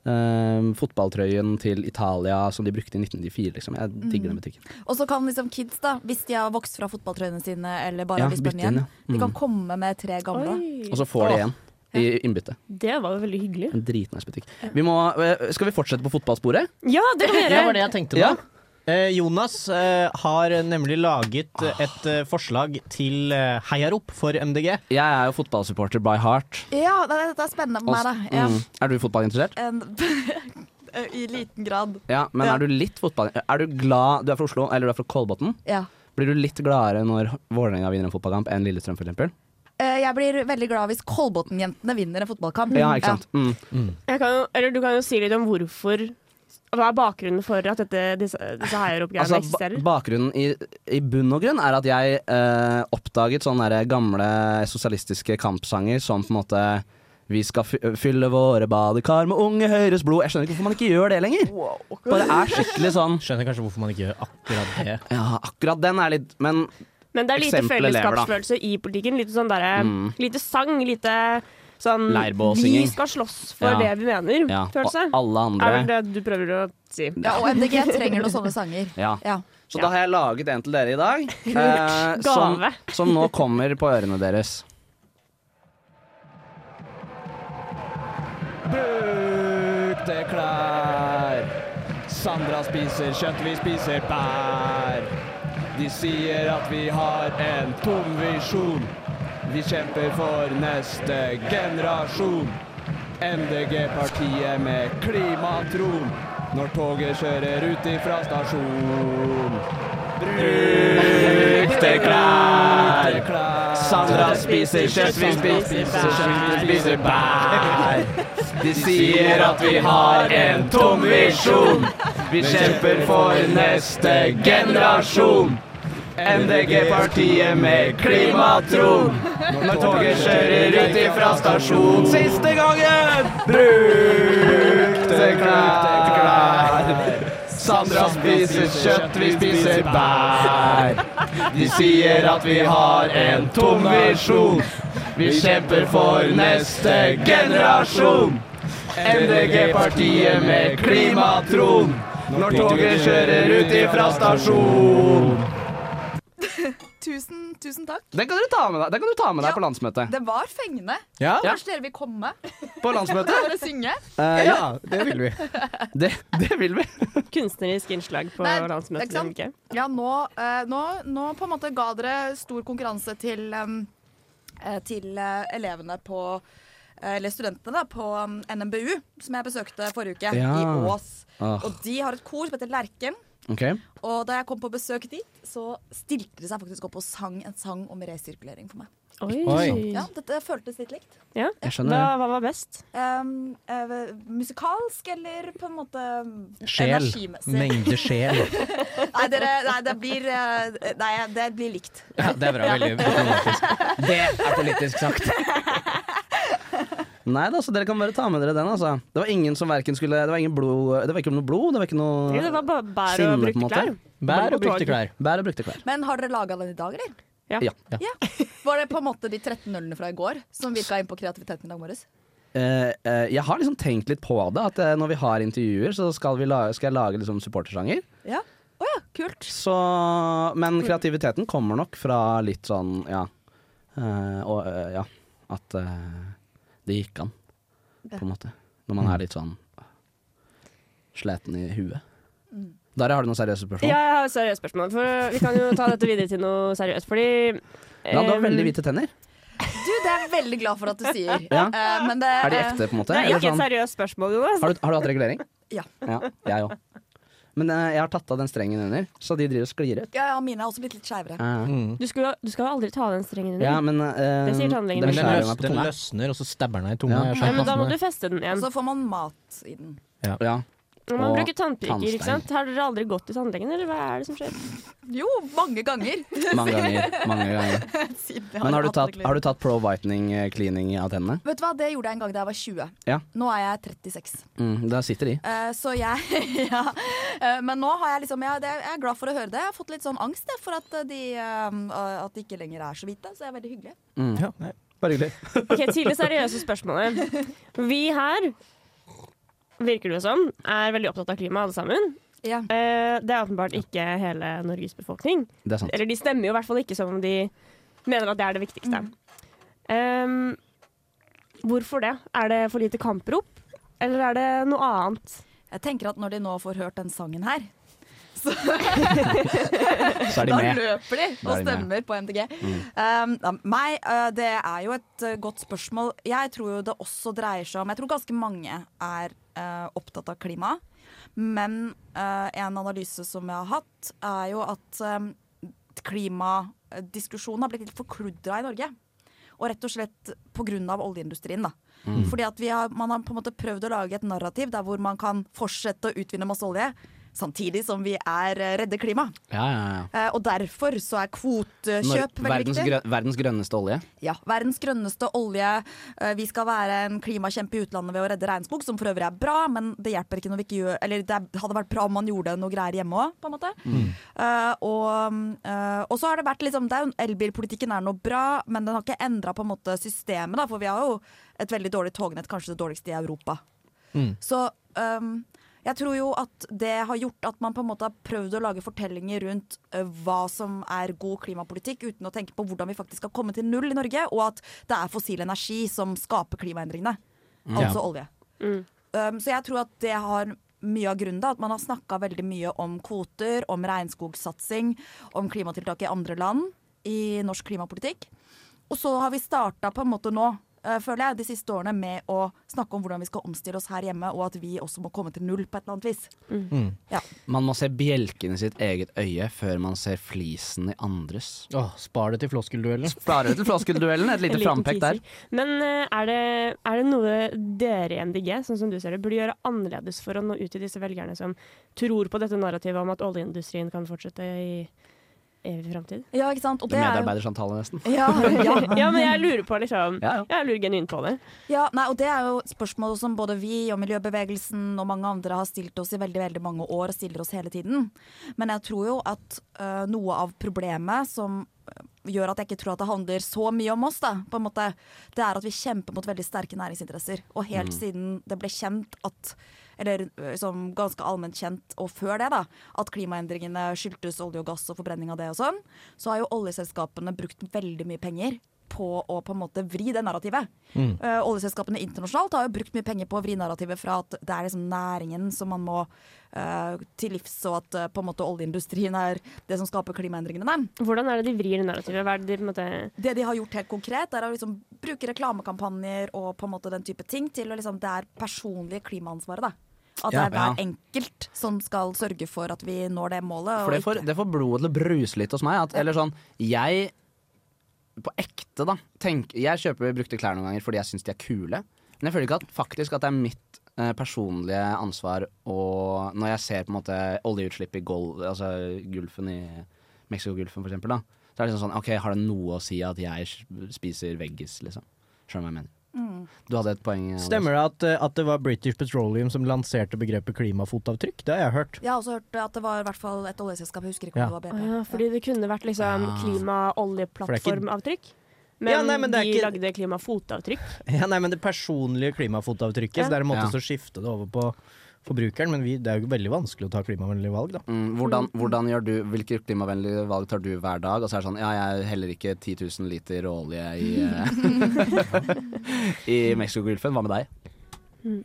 eh, fotballtrøyen til Italia som de brukte i 1994. Liksom. Jeg digger
Mm.
den butikken.
Og så kan liksom kids, da, hvis de har vokst fra fotballtrøyene sine eller bare
Ja,
har lyst på en
bytte inn,
igjen,
ja.
de
Mm.
kan komme med tre gamle.
Og
Oi.
så får de igjen i innbytte.
Det var jo veldig hyggelig.
En dritnice butikk. Vi må, eh, skal vi fortsette på fotballsporet?
Ja, det kan vi
Det var
gjøre.
det jeg tenkte på.
Ja.
Eh, Jonas eh, har nemlig laget eh, et eh, forslag til eh, heiarop for MDG.
Jeg er jo fotballsupporter by heart.
Ja, det, det- dette er spennende for
Og s-
meg, da. Ja.
mm. Er du fotballinteressert?
En, I liten grad.
Ja, men
Ja.
er du litt fotball... Er du glad Du er fra Oslo, eller du er fra Kolbotn.
Ja.
Blir du litt gladere når Vålerenga vinner en fotballkamp enn Lillestrøm, f.eks.?
Eh, Jeg blir veldig glad hvis Kolbotn-jentene vinner en fotballkamp.
Ja, ikke sant? Mm.
Jeg kan, jo- eller du kan jo si litt om hvorfor Hva er bakgrunnen for at dette, disse, disse heiarop-greiene
Altså,
eksisterer?
ba bakgrunnen i, i bunn og grunn er at jeg eh, oppdaget sånne der gamle sosialistiske kampsanger som på en måte Vi skal fy fylle våre badekar med unge Høyres blod. Jeg skjønner ikke hvorfor man ikke gjør det lenger. Bare er skikkelig sånn
Skjønner kanskje hvorfor man ikke gjør akkurat det.
Ja, akkurat den er litt Men
Men det er lite
Eksempel elever, da.
fellesskapsfølelse i politikken. Lite sånn derre Lite sang, lite sånn Vi
Leirbålsynging.
skal slåss for
Ja.
det vi mener,
ja, og
følelse.
alle
Er vel
andre
det du prøver å si.
Ja, og MDG trenger noen sånne sanger.
ja.
Ja.
Så da har jeg laget en til dere i dag. eh, som,
Gave.
som nå kommer på ørene deres. Brukte klær. Sandra spiser kjøtt, vi spiser bær. De sier at vi har en tom visjon. Vi kjemper for neste generasjon. MDG-partiet med klimatron. Når toget kjører ut ifra stasjon. Brukte klær. Sandra spiser kjøtt, vi spiser kjøtt, vi spiser bær. De sier at vi har en tom visjon. Vi kjemper for neste generasjon. MDG-partiet med klimatron. Når toget kjører ut ifra stasjon siste gangen. Brukte klær. Sandra spiser kjøtt, vi spiser bær. De sier at vi har en tom visjon. Vi kjemper for neste generasjon. MDG-partiet med klimatron. Når toget kjører ut ifra stasjon.
tusen, tusen takk.
Den kan du ta med deg, den kan du ta med deg
Ja.
på landsmøtet.
Det var fengende.
Ja?
Ja.
Kanskje dere vil komme
På
og
landsmøtet?
dere synge?
Eh, ja,
ja, det vil vi.
det, det vil vi.
Kunstnerisk innslag på
Nei,
landsmøtet.
ikke sant?
Ikke?
Ja, nå, eh, nå, nå på en måte ga dere stor konkurranse til, em, eh, til eh, elevene på eh, eller studentene da, på em, NMBU, som jeg besøkte forrige uke,
Ja.
i Ås.
Ah.
Åh,
Og de har et kor som heter Lerken.
ok.
Og da jeg kom på besøk dit, så stilte de seg faktisk opp og sang en sang om resirkulering for meg.
Oi.
Oi.
Ja, Dette føltes litt likt.
Ja. Hva,
Jeg skjønner.
hva var best?
Em, eh, musikalsk eller på en måte
Sjel.
energimessig.
Mengde sjel.
Nei, dere, nei, det blir, eh, nei, det blir likt.
Ja, det er bra. Veldig diplomatisk. Det er politisk sagt.
Nei da, så dere kan bare ta med dere den, altså. Det var ingen som verken skulle Det var ingen blod Det var ikke noe blod, det var ikke
Jo, det
noe
var bare bær
Sinne,
og
på en
brukte
måte.
klær.
Bær og brukte klær.
Bær og brukte klær.
Men har dere laga den i dag, eller?
Ja.
Ja.
Var det på en måte de 13 ølene fra i går som virka inn på kreativiteten i dag morges?
Eh, eh, jeg har liksom tenkt litt på det, at eh, når vi har intervjuer, så skal, vi la skal jeg lage liksom supportersanger.
Ja. Å ja, kult.
Så, men kreativiteten kommer nok fra litt sånn, ja eh, Og eh, ja, at eh, det gikk an, på en måte. Når
Mm.
man er litt sånn sliten i huet. Darja, har du noen seriøse spørsmål?
Ja, jeg har et seriøst spørsmål. For vi kan jo ta dette videre til noe seriøst. Fordi eh,
Ja, du har
em,
veldig hvite tenner.
Du, det er jeg veldig glad for at du sier.
Ja.
Eh, men det,
Er de ekte, på en måte?
Det er
Eller
ikke et
sånn,
seriøst spørsmål, Jonas.
har, du, har du hatt regulering?
Ja.
ja jeg òg. Men eh, jeg har tatt av den strengen under, så de driver og sklir ut.
Ja, ja, mine er også blitt litt skeivere.
Eh,
Du skal, jo- du skal aldri ta av den strengen din.
Ja, men eh,
Mm. Det sier tannlegen
Den
min.
Men den,
skjærer
løs,
meg på
den
tunga.
løsner, og så stabber den deg i tunga.
Ja.
Jeg
Nei,
skjønner
men da må
hva
du
som er-
feste den igjen.
Så får man mat i den.
Ja.
Når man
og
bruker tannpirker, ikke
tannstein.
sant. Har dere aldri gått til tannlegen, eller hva er det som skjer?
Jo, mange ganger.
Mange ganger. Mange ganger.
Siden jeg
Men har du
hatt
tatt,
det
har du tatt pro whitening eh, cleaning av tennene?
Vet du hva, Det gjorde jeg en gang da jeg var 20.
Ja.
Nå er jeg 36.
Mm, der sitter de.
Eh, så jeg ja. Eh, Men nå har jeg liksom jeg, det, jeg er glad for å høre det. Jeg har fått litt sånn angst jeg, for at eh, de, eh, at de ikke lenger er så hvite. Så det er veldig hyggelig.
Mm.
Ja, nei.
Bare hyggelig.
Ok, Til det seriøse spørsmålet. Vi her, virker det som, er veldig opptatt av klima, alle sammen.
Ja.
Eh, Det er åpenbart ikke hele Norges befolkning.
Det er sant.
Eller de stemmer jo i hvert fall ikke som om de mener at det er det viktigste. Ehm, hvorfor det? Er det for lite kamprop? Eller er det noe annet?
Jeg tenker at når de nå får hørt den sangen her, så
Så er de
da
med. Mm.
løper de
Da
og
er de
stemmer på MDG. Um, da, meg, øh, det er jo et øh, godt spørsmål. Jeg tror jo det også dreier seg om Jeg tror ganske mange er øh, opptatt av klima. Men øh, en analyse som jeg har hatt, er jo at um, klimadiskusjonen har blitt litt forkludra i Norge. Og rett og slett pga. oljeindustrien. da.
Mm.
Fordi at vi har, Man har på en måte prøvd å lage et narrativ der hvor man kan fortsette å utvinne masse olje, samtidig som vi er øh, redde klima.
Ja, ja, ja.
Eh, Og derfor så er
Nor-
kvotekjøp veldig
verdens,
viktig.
grø verdens grønneste olje.
ja, verdens grønneste olje. Eh, Vi skal være en klimakjempe i utlandet ved å redde regnskog, som for øvrig er bra, men det hjelper ikke når vi ikke gjør Eller det er- hadde vært bra om man gjorde noe greier hjemme òg, på en måte. Eh, og, eh, og så har det vært liksom det er jo, Elbilpolitikken er noe bra, men den har ikke endra på en måte systemet, da, for vi har jo et veldig dårlig tognett, kanskje det dårligste i Europa. Så øhm, jeg tror jo at det har gjort at man på en måte har prøvd å lage fortellinger rundt øh, hva som er god klimapolitikk, uten å tenke på hvordan vi faktisk skal komme til null i Norge, og at det er fossil energi som skaper klimaendringene. Altså olje. Øhm, så jeg tror at det har mye av grunnen da, at man har snakka veldig mye om kvoter, om regnskogsatsing, om klimatiltak i andre land i norsk klimapolitikk. Og så har vi starta på en måte nå, eh, føler jeg, de siste årene med å snakke om hvordan vi skal omstille oss her hjemme, og at vi også må komme til null på et eller annet vis.
Man må se bjelken i sitt eget øye før man ser flisen i andres.
Åh, spar det til floskelduellen.
Sparer du til floskelduellen? Et
En
lite
liten
frampek der.
teaser. Men eh, er det, er det noe dere i MDG, sånn som du ser det, burde gjøre annerledes for å nå ut til disse velgerne som tror på dette narrativet om at oljeindustrien kan fortsette i evig framtid?
Ja, ikke sant? Og det er jo
Medarbeidersamtale, nesten.
ja, ja.
Ja, men jeg lurer på liksom
Ja, ja.
Jeg lurer genuint på det.
ja, nei, og det er jo et spørsmål som både vi og miljøbevegelsen og mange andre har stilt oss i veldig veldig mange år og stiller oss hele tiden. Men jeg tror jo at øh, noe av eh, problemet som gjør at jeg ikke tror at det handler så mye om oss, da, på en måte, det er at vi kjemper mot veldig sterke næringsinteresser. Og helt siden det ble kjent at eller øh, liksom, ganske allment kjent, og før det, da, at klimaendringene skyldtes olje og gass og forbrenning av det og sånn, så har jo oljeselskapene brukt veldig mye penger på å på en måte vri det narrativet.
Mm.
Eh, oljeselskapene internasjonalt har jo brukt mye penger på å vri narrativet fra at det er liksom næringen som man må eh, til livs, og at eh, på en måte oljeindustrien er det som skaper klimaendringene. Nei.
Hvordan er det de vrir det narrativet? Hva er det de på en måte
Det de har gjort helt konkret, er å liksom bruke reklamekampanjer og på en måte den type ting til å liksom Det er personlige klimaansvaret, da. At det
Ja,
er hver
ja.
enkelt som skal sørge for at vi når det målet.
For det
og
får,
ikke-
det får blodet til å bruse litt hos meg. At, eller sånn, jeg på ekte, da. Tenk, jeg kjøper brukte klær noen ganger fordi jeg syns de er kule. Men jeg føler ikke at, faktisk at det er mitt eh, personlige ansvar å Når jeg ser på en måte oljeutslipp i Gol, altså Gulfen i Mexicogolfen, for eksempel, da. Så er det liksom sånn OK, har det noe å si at jeg spiser veggis, liksom? Skjønner du hva jeg mener? Du hadde et poeng. Anders.
Stemmer det at, eh, at det var British Petroleum som lanserte begrepet klimafotavtrykk? Det har jeg hørt.
Jeg har også hørt at det var i hvert fall et oljeselskap, jeg husker ikke
Ja.
om det
Å
var BP.
ja, fordi det kunne vært liksom
Ah.
klima-oljeplattformavtrykk. Men,
Ja, nei, men det
de
er ikke-
lagde klimafotavtrykk.
Ja, nei, men Det personlige klimafotavtrykket.
Ja.
Så det er en måte
Ja.
å skifte det over på forbrukeren. Men vi, det er jo veldig vanskelig å ta klimavennlige valg, da.
Mm, hvordan, hvordan gjør du, Hvilke klimavennlige valg tar du hver dag? Og så er det sånn Ja, jeg heller ikke 10 000 liter olje i, eh, i Mexicogolfen. Hva med deg?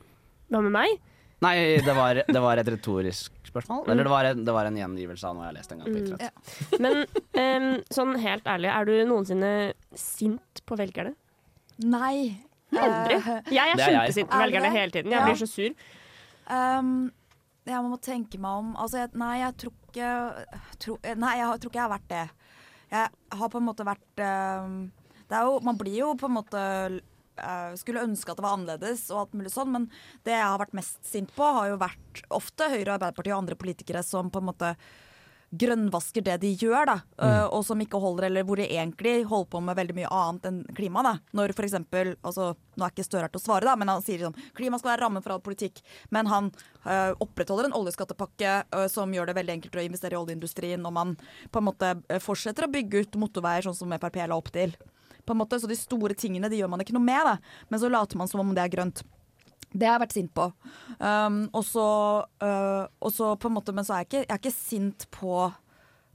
Hva med meg?
Nei, det var, det var et retorisk spørsmål. Eller det var, en, det var en gjengivelse av noe jeg har lest en
Mm,
gang på internett.
Men em, sånn helt ærlig, er du noensinne sint på velgerne?
Nei.
Aldri. Jeg er
Det er jeg.
kjempesint på
Er det
velgerne
det?
hele tiden. Jeg
Ja.
blir så sur.
Um, jeg må tenke meg om altså, jeg, Nei, jeg tror ikke tro, Nei, jeg har- tror ikke jeg har vært det. Jeg har på en måte vært um, det er jo, Man blir jo på en måte uh, Skulle ønske at det var annerledes, og alt mulig sånn, men det jeg har vært mest sint på, har jo vært ofte Høyre, Arbeiderpartiet og andre politikere som på en måte grønnvasker det de gjør, da, øh, og som ikke holder, eller hvor de egentlig holder på med veldig mye annet enn klima. da. Når for eksempel, altså, Nå er ikke Støre her til å svare, da, men han sier sånn klima skal være rammen for all politikk. Men han øh, opprettholder en oljeskattepakke øh, som gjør det veldig enkelt å investere i oljeindustrien, og man på en måte øh, fortsetter å bygge ut motorveier, sånn som Frp la opp til. På en måte, Så de store tingene de gjør man ikke noe med, da. men så later man som om det er grønt. Det har jeg vært sint på. Um, og så øh, og så på en måte, Men så er jeg ikke, jeg er ikke sint på,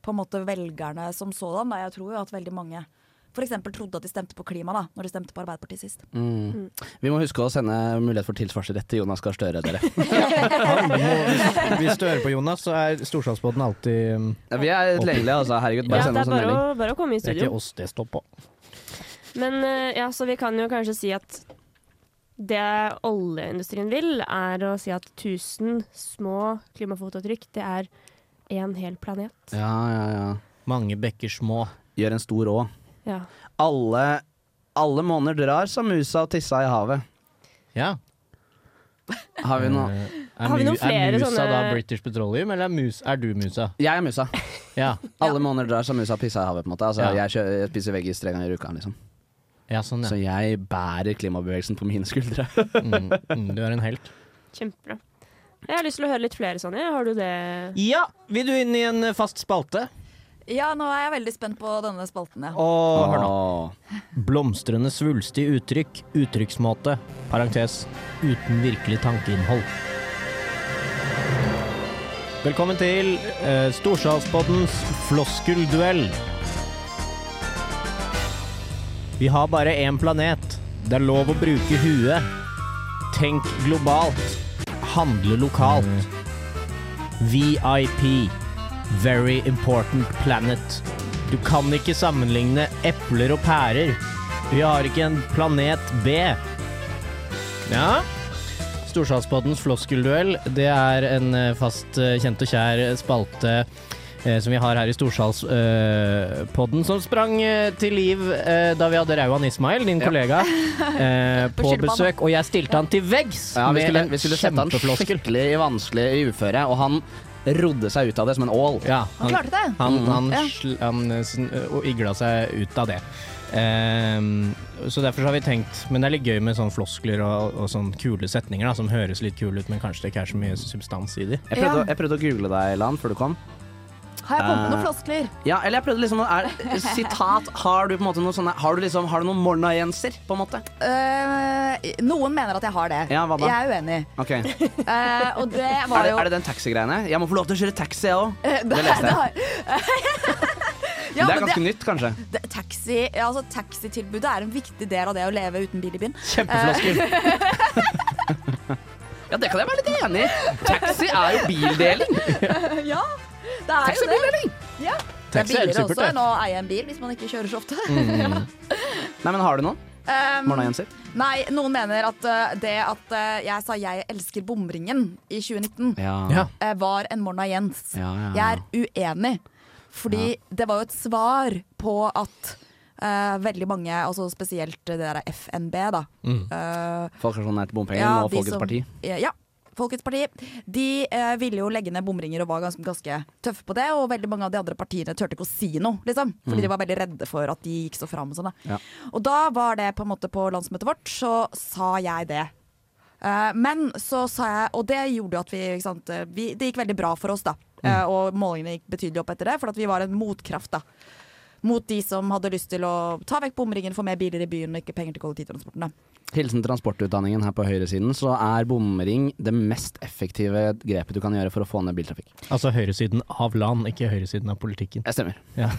på en måte velgerne som sådan. Da. Jeg tror jo at veldig mange f.eks. trodde at de stemte på klima da når de stemte på Arbeiderpartiet sist.
Mm. Vi må huske å sende mulighet for tilsvarsrett til Jonas Gahr Støre, dere.
Ja, du må- hvis, hvis du hører på Jonas, så er Storsalgsbåten alltid um,
Ja, Vi er tilgjengelige, altså. Herregud,
Ja,
bare send
det er
oss en
bare å,
melding.
bare å komme i
Det er ikke
studio.
oss det står på.
Men eh, ja, så vi kan jo kanskje si at det oljeindustrien vil, er å si at 1000 små klimafotavtrykk, det er én hel planet.
Ja, ja, ja.
Mange bekker små.
Gjør en stor å.
Ja.
Alle, alle måneder drar som musa og tissa i havet.
Ja.
Har vi noe?
Eh, er
Har vi
mu-
noen flere
Er musa
sånne-
da British Petroleum, eller er, mus, er du musa?
Jeg er musa.
Ja.
Alle måneder drar som musa pisser i havet, på en måte. Altså,
Ja.
jeg, kjø- jeg spiser veggis tre ganger i uka, liksom.
ja, sånn ja.
Så jeg bærer klimabevegelsen på mine skuldre.
Mm, mm, du er en helt.
Kjempebra. Jeg har lyst til å høre litt flere sånne. Har du det?
Ja, vil du inn i en eh, fast spalte?
Ja, nå er jeg veldig spent på denne spalten. Ja.
Og hør nå.
Åh.
Blomstrende svulstig uttrykk, uttrykksmåte, parentes, uten virkelig tankeinnhold. Velkommen til eh, Storsalspoddens floskelduell. Vi har bare én planet. Det er lov å bruke huet. Tenk globalt. Handle lokalt. VIP. Very important planet. Du kan ikke sammenligne epler og pærer. Vi har ikke en planet B. Ja. Storsalspoddens floskelduell, det er en eh, fast eh, kjent og kjær spalte eh, som vi har her i Storsalspodden, som sprang eh, til liv eh, da vi hadde Rauan Ismail, din kollega, eh, på
Skyld på han, da.
besøk. Og jeg stilte han til veggs
Ja, vi skulle,
med
vi skulle
en
sette han
kjempefloskel.
skikkelig i vanskelig i uføre, og han rodde seg ut av det som en ål.
Ja,
Han klarte det!
Han,
Mm.
han,
Ja.
sl- han eh, sn- og igla seg ut av det. Ehm, så derfor så har vi tenkt Men det er litt gøy med sånne floskler og, og sånne kule setninger da, som høres litt kule ut, men kanskje det ikke er så mye substans i de.
Jeg prøvde,
Ja.
å- jeg prøvde å google deg, Lan, før du kom.
Har jeg kommet med
Eh.
noen floskler?
Ja, eller jeg prøvde liksom å- er, Sitat. Har du på en måte noe sånne Har du liksom Har du noen mornajenser, på en måte?
Eh, noen mener at jeg har det.
Ja, hva da?
Jeg er uenig.
Ok Er det,
Eh, og det var jo
er det den taxigreiene? Jeg må få lov til å kjøre taxi, jeg òg.
Eh,
det leste jeg.
har- ja,
det
men
er ganske nytt, kanskje.
det, taxi, ja, altså, taxitilbudet er en viktig del av det å leve uten bil i byen.
Kjempeflasker.
Eh.
ja, det kan jeg være litt enig i. Taxi er jo bildeling.
ja, det er jo det.
Taxibildeling.
Ja. Det er
Taxi er
billigere
supert,
også
det. Mm.
enn å eie en bil hvis man ikke kjører så ofte.
Nei, men har du noen?
Um,
Mornajenser?
nei, noen mener at eh, det at eh, jeg sa 'jeg elsker bomringen' i 2019,
Ja.
eh, var en Morna Jens.
Ja, ja,
Jeg er uenig, fordi det var jo et svar på at eh, veldig mange, altså spesielt det der FNB, da.
Mm.
eh,
Folk er sånn nei til bompenger
ja,
og
de
Folkets
som-
Parti.
Ja, ja. Folkets Parti. De eh, ville jo legge ned bomringer og var ganske, ganske tøffe på det. Og veldig mange av de andre partiene turte ikke å si noe, liksom. Fordi de var veldig redde for at de gikk så fram og sånn. da.
Mm. Ja.
Og da var det på en måte på landsmøtet vårt, så sa jeg det. Eh, Men så sa jeg, og det gjorde jo at vi, ikke sant, eh, vi Det gikk veldig bra for oss, da.
Mm.
Eh, Og målingene gikk betydelig opp etter det, for at vi var en motkraft, da. Mot de som hadde lyst til å ta vekk bomringen, få mer biler i byen og ikke penger til kollektivtransporten. da.
Hilsen transportutdanningen her på høyresiden, så er bomring det mest effektive grepet du kan gjøre for å få ned biltrafikk.
Altså høyresiden av land, ikke høyresiden av
Eh,
politikken.
Jeg stemmer.
Ja.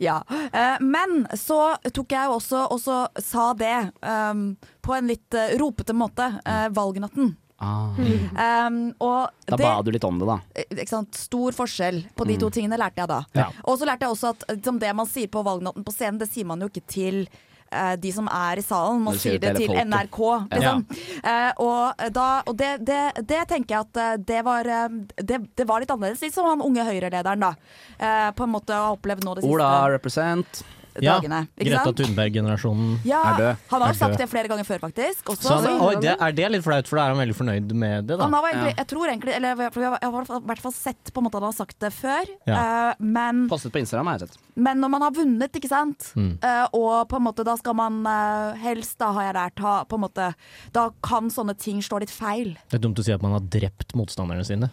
Ja. eh, Men så tok jeg jo også og så sa det ehm, på en litt eh, ropete måte eh, valgnatten.
Ah.
Ehm, og
Da
det,
ba du Mm. litt om det, da.
eh, ikke sant, stor forskjell på de to tingene lærte jeg da. Og så lærte jeg også at eh, liksom, det man sier på valgnatten på scenen, det sier man jo ikke til eh, de som er i salen, man
Du sier
sier
det
det
til
til
hele folket.
NRK. Liksom. Eh, og da, og det, det, det tenker jeg at eh, det var, eh, det, det var litt annerledes. Litt som han unge Høyre-lederen, da. Eh, på en måte har opplevd nå de siste
Ola represent.
dagene. Ikke
Greta
sant?
Thunberg-generasjonen.
Ja,
er død.
han har
Er
jo sagt
død.
det flere ganger før, faktisk. Også,
Så han,
så-
oi, det, er det litt flaut, for da er han veldig fornøyd med det,
han
da.
har egentlig, jeg tror egentlig, eller jeg har i hvert fall- i hvert fall sett på en måte at han har sagt det før,
Ja.
eh, men
Postet på Instagram, har jeg sett.
Men når man har vunnet, ikke sant,
Mm.
Eh, og på en måte da skal man eh, helst, da har jeg lært, ha, på en måte, da kan sånne ting slå litt feil.
Det er dumt å si at man har drept motstanderne sine.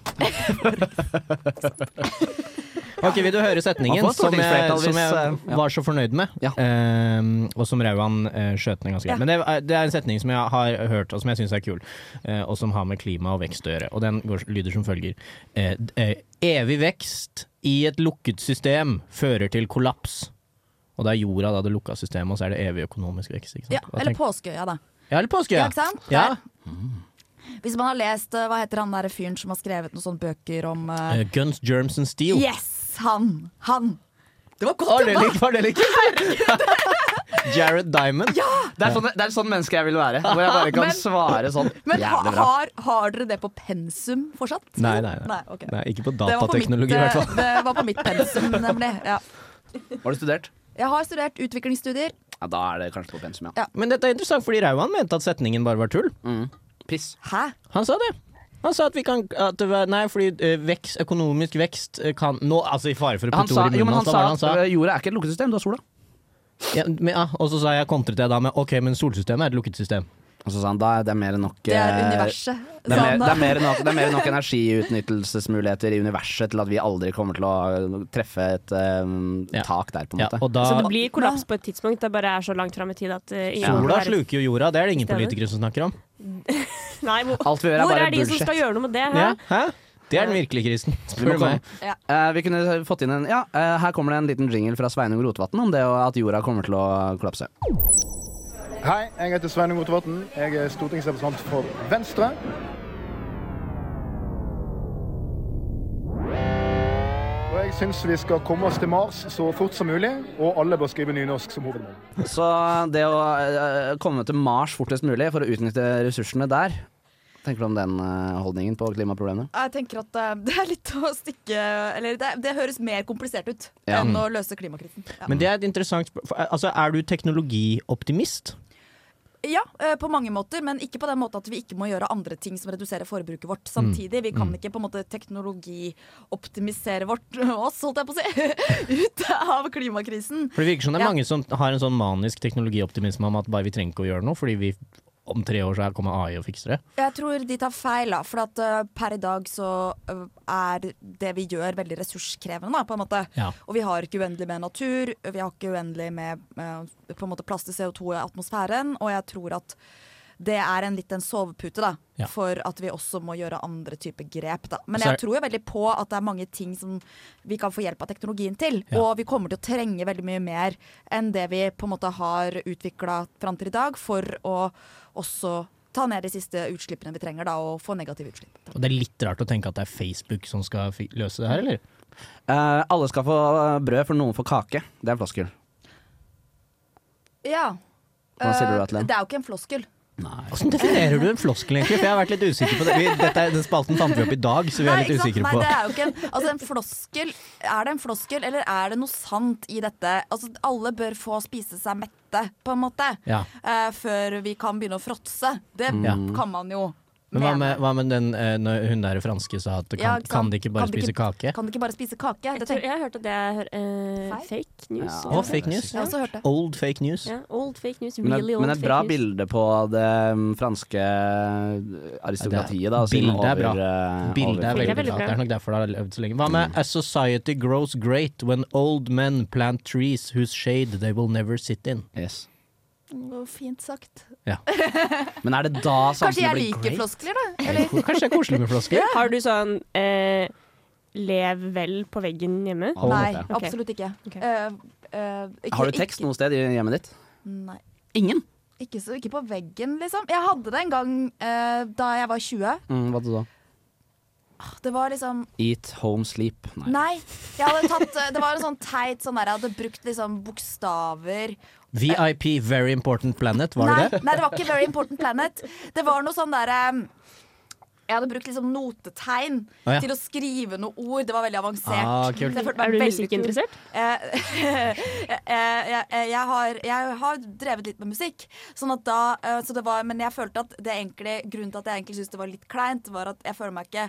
Ok, Vil du høre setningen
Man får
som jeg,
stortingsflertall hvis,
som jeg
eh, ja.
var så fornøyd med?
Ja.
Ehm, og som Rauan eh, skjøt ned ganske greit.
Ja.
Men det, er- det er en setning som jeg har hørt, og som jeg syns er kul, eh, og som har med klima og vekst å gjøre. Og den går, lyder som følger. Eh, d- eh, evig vekst i et lukket system fører til kollaps. Og det er jorda da det lukka systemet, og så er det evig økonomisk vekst. Ikke sant?
Ja,
Hva
eller
tenk-
påskeøya, da.
ja, eller påske, ja.
Ja, ikke sant?
ja.
Hvis man har lest, eh, hva heter han der fyren som har skrevet noen sånne bøker om... eh,
Eh, Guns, germs and steel.
yes, han, han. Det var
Var
godt
det litt, var det litt Jared Diamond?
Det er, sånn, det er sånn menneske jeg vil være. Hvor jeg bare kan svare sånn.
Men ha,
Jævlig bra.
har, har dere det på pensum fortsatt?
Nei, nei, nei.
Nei, ok.
nei ikke på
Det var på
datateknologi i
mitt,
hvert fall.
eh, Det var på mitt pensum, nemlig. Ja.
Har du studert?
Jeg har studert utviklingsstudier.
Ja, da er det kanskje på pensum,
Ja.
ja.
Men dette er interessant, fordi Rauan mente at setningen bare var tull.
Piss.
Hæ?
Han sa det. Han sa at vi kan at det var, Nei, fordi eh, vekst, økonomisk vekst eh, kan Nå, altså i fare for å
Han
putte
sa,
ord i
jo,
munnen
men
hans,
han
da var
sa
det
at
han sa.
øh, jorda er ikke et lukket system, du har sola.
Ja, men, ja, og så sa jeg kontret jeg da med OK, men solsystemet er et lukket system.
Og så sa han da er det mer enn nok
Det er
eh,
universet.
Det
sånn,
er,
sa
mer,
han da.
det, er mer enn nok, det er mer enn nok energiutnyttelsesmuligheter i universet til at vi aldri kommer til å treffe et eh,
Ja.
tak der, på en
Ja,
måte.
og da
Så det blir kollaps på et tidspunkt. Det bare er så langt fram i tid at eh, ingen
Sola
kan være-
sluker jo jorda, det er det ingen
Systemet.
politikere som snakker om.
Nei, hvor,
Alt vi gjør, er
hvor
bare
er de som
bullshit.
skal gjøre noe med det? Hæ?
Ja, hæ? Det er den virkelige krisen,
Vi, må
spør du
komme-
meg.
Ja.
Eh, vi kunne fått inn en Ja, eh, her kommer det en liten jingle fra Sveinung Rotevatn om det og at jorda kommer til å kollapse.
Hei, jeg heter Sveinung Rotevatn. Jeg er stortingsrepresentant for Venstre. Og jeg syns vi skal komme oss til Mars så fort som mulig, og alle bør skrive nynorsk som hovedmål.
Så det å eh, komme til Mars fortest mulig for å utnytte ressursene der Tenker du om den eh, holdningen på klimaproblemene?
Jeg tenker at eh, det er litt å stikke Eller det, det høres mer komplisert ut
Ja.
enn å løse klimakrisen. Ja,
Men det er et interessant spør- for, Altså, er du teknologioptimist?
ja eh, på mange måter, men ikke på den måten at vi ikke må gjøre andre ting som reduserer forbruket vårt samtidig. Vi kan ikke på en måte teknologioptimisere vårt oss, holdt jeg på å si, ut av klimakrisen.
For det virker som det er
Ja.
mange som har en sånn manisk teknologioptimisme om at bare vi trenger ikke å gjøre noe, fordi vi om tre år så kommer AI og fikser det.
Jeg tror de tar feil, da. For at, eh, per i dag så eh, er det vi gjør, veldig ressurskrevende, da, på en måte.
Ja.
Og vi har ikke uendelig med natur, vi har ikke uendelig med eh, på en måte plass til CO2 i atmosfæren, og jeg tror at det er en litt en sovepute da,
Ja.
for at vi også må gjøre andre typer grep. Da.
Så
Men
er-
jeg tror jo veldig på at det er mange ting som vi kan få hjelp av teknologien til.
Ja.
Og vi kommer til å trenge veldig mye mer enn det vi på en måte har utvikla fram til i dag, for å også ta ned de siste utslippene vi trenger, da, og få negative utslipp.
Og det er litt rart å tenke at det er Facebook som skal fi- løse det her, eller?
Eh, alle skal få eh, brød, for noen får kake. Det er floskel.
Ja.
Hva sier du da til den?
Eh, Det er jo ikke en floskel.
Hvordan definerer du en floskel, egentlig? For jeg har vært litt usikker på det. Vi, dette, er- den spalten fant vi opp i dag, så vi er
Nei,
litt
ikke sant?
usikre
Nei,
på.
det er jo ikke en, altså en floskel. Er det en floskel, eller er det noe sant i dette? Altså, alle bør få spise seg mette, på en måte,
Ja.
eh, før vi kan begynne å fråtse. Det
Ja.
kan man jo
Men hva
mene.
med, hva med den eh, når hun der franske sa at kan,
Ja, ikke sant?
kan de ikke bare
Kan de
spise kake?
Kan du ikke bare spise kake?
Jeg,
Det
tror,
tenker jeg.
jeg har hørt at det er eh, fake news.
Ja.
Og fake news.
Jeg har også hørt det.
Old fake news.
Ja, old fake news,
Men,
really
et-
old
men et
fake
bra
news.
bilde på det mm, franske aristokratiet, da. siden
bildet er bra.
over,
Bildet
eh,
er
over-
Bildet
veldig
er veldig
bra.
bra.
Det er nok derfor det har levd så lenge. Hva med As society grows great when old men plant trees whose shade they will never sit in?
yes.
Å, Fint sagt.
Men er det da
Kanskje
samfunnet
jeg
blir
liker
great?
floskler, da? Eller?
Kanskje det er koselig med flasker?
Har du sånn eh, lev vel på veggen hjemme?
Å,
Nei,
ok.
Ok.
absolutt ikke.
Ok.
Eh, eh, ikke-
Har du tekst
ikke-
noe sted i hjemmet ditt?
Nei.
Ingen.
Ikke, så, ikke på veggen, liksom. Jeg hadde det en gang eh, da jeg var 20.
Mm, hva da?
Det var liksom
Eat, home, sleep. Nei.
Nei. Jeg hadde tatt, det var en sånn teit sånn der, Jeg hadde brukt liksom bokstaver.
VIP, Very Important Planet, var
nei,
det det?
nei, det var ikke Very Important Planet. Det var noe sånn derre jeg hadde brukt liksom notetegn
Å, ja.
til å skrive noen ord. Det var veldig avansert.
Ah, kult.
Så jeg følte meg
Er du
veldig
musikkinteressert?
kul. Eh, eh, jeg, jeg, har, jeg har drevet litt med musikk, sånn at da, eh, så det var, men jeg følte at det egentlig, grunnen til at jeg egentlig syntes det var litt kleint, var at jeg føler meg ikke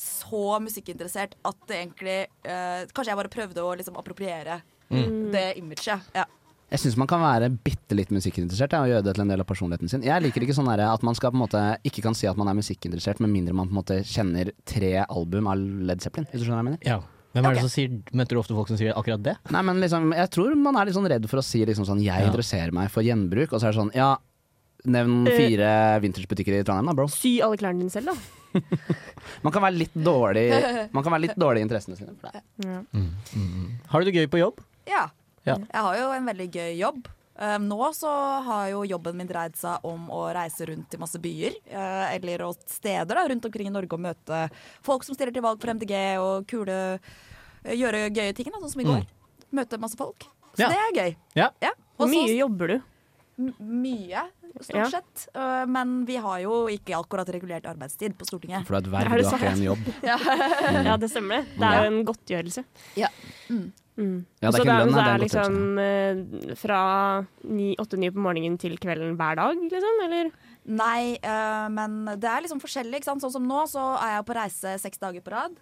så musikkinteressert at det egentlig eh, Kanskje jeg bare prøvde å liksom appropriere det imaget. Ja.
Jeg syns man kan være bitte litt musikkinteressert ja, og gjøre det til en del av personligheten sin. Jeg liker ikke sånn der, at man skal på en måte ikke kan si at man er musikkinteressert, med mindre man på en måte kjenner tre album av Led Zeppelin. Hvis du skjønner hva jeg mener?
Ja. Hvem er det som sier, møter du ofte folk som sier akkurat det?
Nei, men liksom, jeg tror man er litt sånn redd for å si liksom sånn Jeg
Ja.
interesserer meg for gjenbruk, og så er det sånn Ja, nevn
Eh.
fire vintagebutikker i Trondheim, da, bro.
Sy alle klærne dine selv, da.
Man kan være litt dårlig Man kan være litt dårlig i interessene sine. For det.
Har du det gøy på jobb?
Ja.
Ja.
Jeg har jo en veldig gøy jobb. Eh, nå så har jo jobben min dreid seg om å reise rundt i masse byer, eh, eller og steder da, rundt omkring i Norge og møte folk som stiller til valg for MDG og kule eh, Gjøre gøye ting, da, sånn som i går. Møte masse folk. Så
Ja.
det er gøy.
Ja.
Ja.
Hvor
Og så-
mye jobber du?
M- mye, stort
Ja.
sett. Eh, men vi har jo ikke akkurat regulert arbeidstid på Stortinget.
For du er et verv,
Er det
du har ikke
sant?
en jobb.
Ja, det stemmer det. Det er jo en godtgjørelse.
Ja.
Mm.
Ja, det
så
er ikke en lønn,
så
det er
er
en
liksom eh, fra ni- åtte-ni på morgenen til kvelden hver dag, liksom? Eller?
Nei, eh, men det er liksom forskjellig. Ikke sant? Sånn som nå, så er jeg på reise seks dager på rad.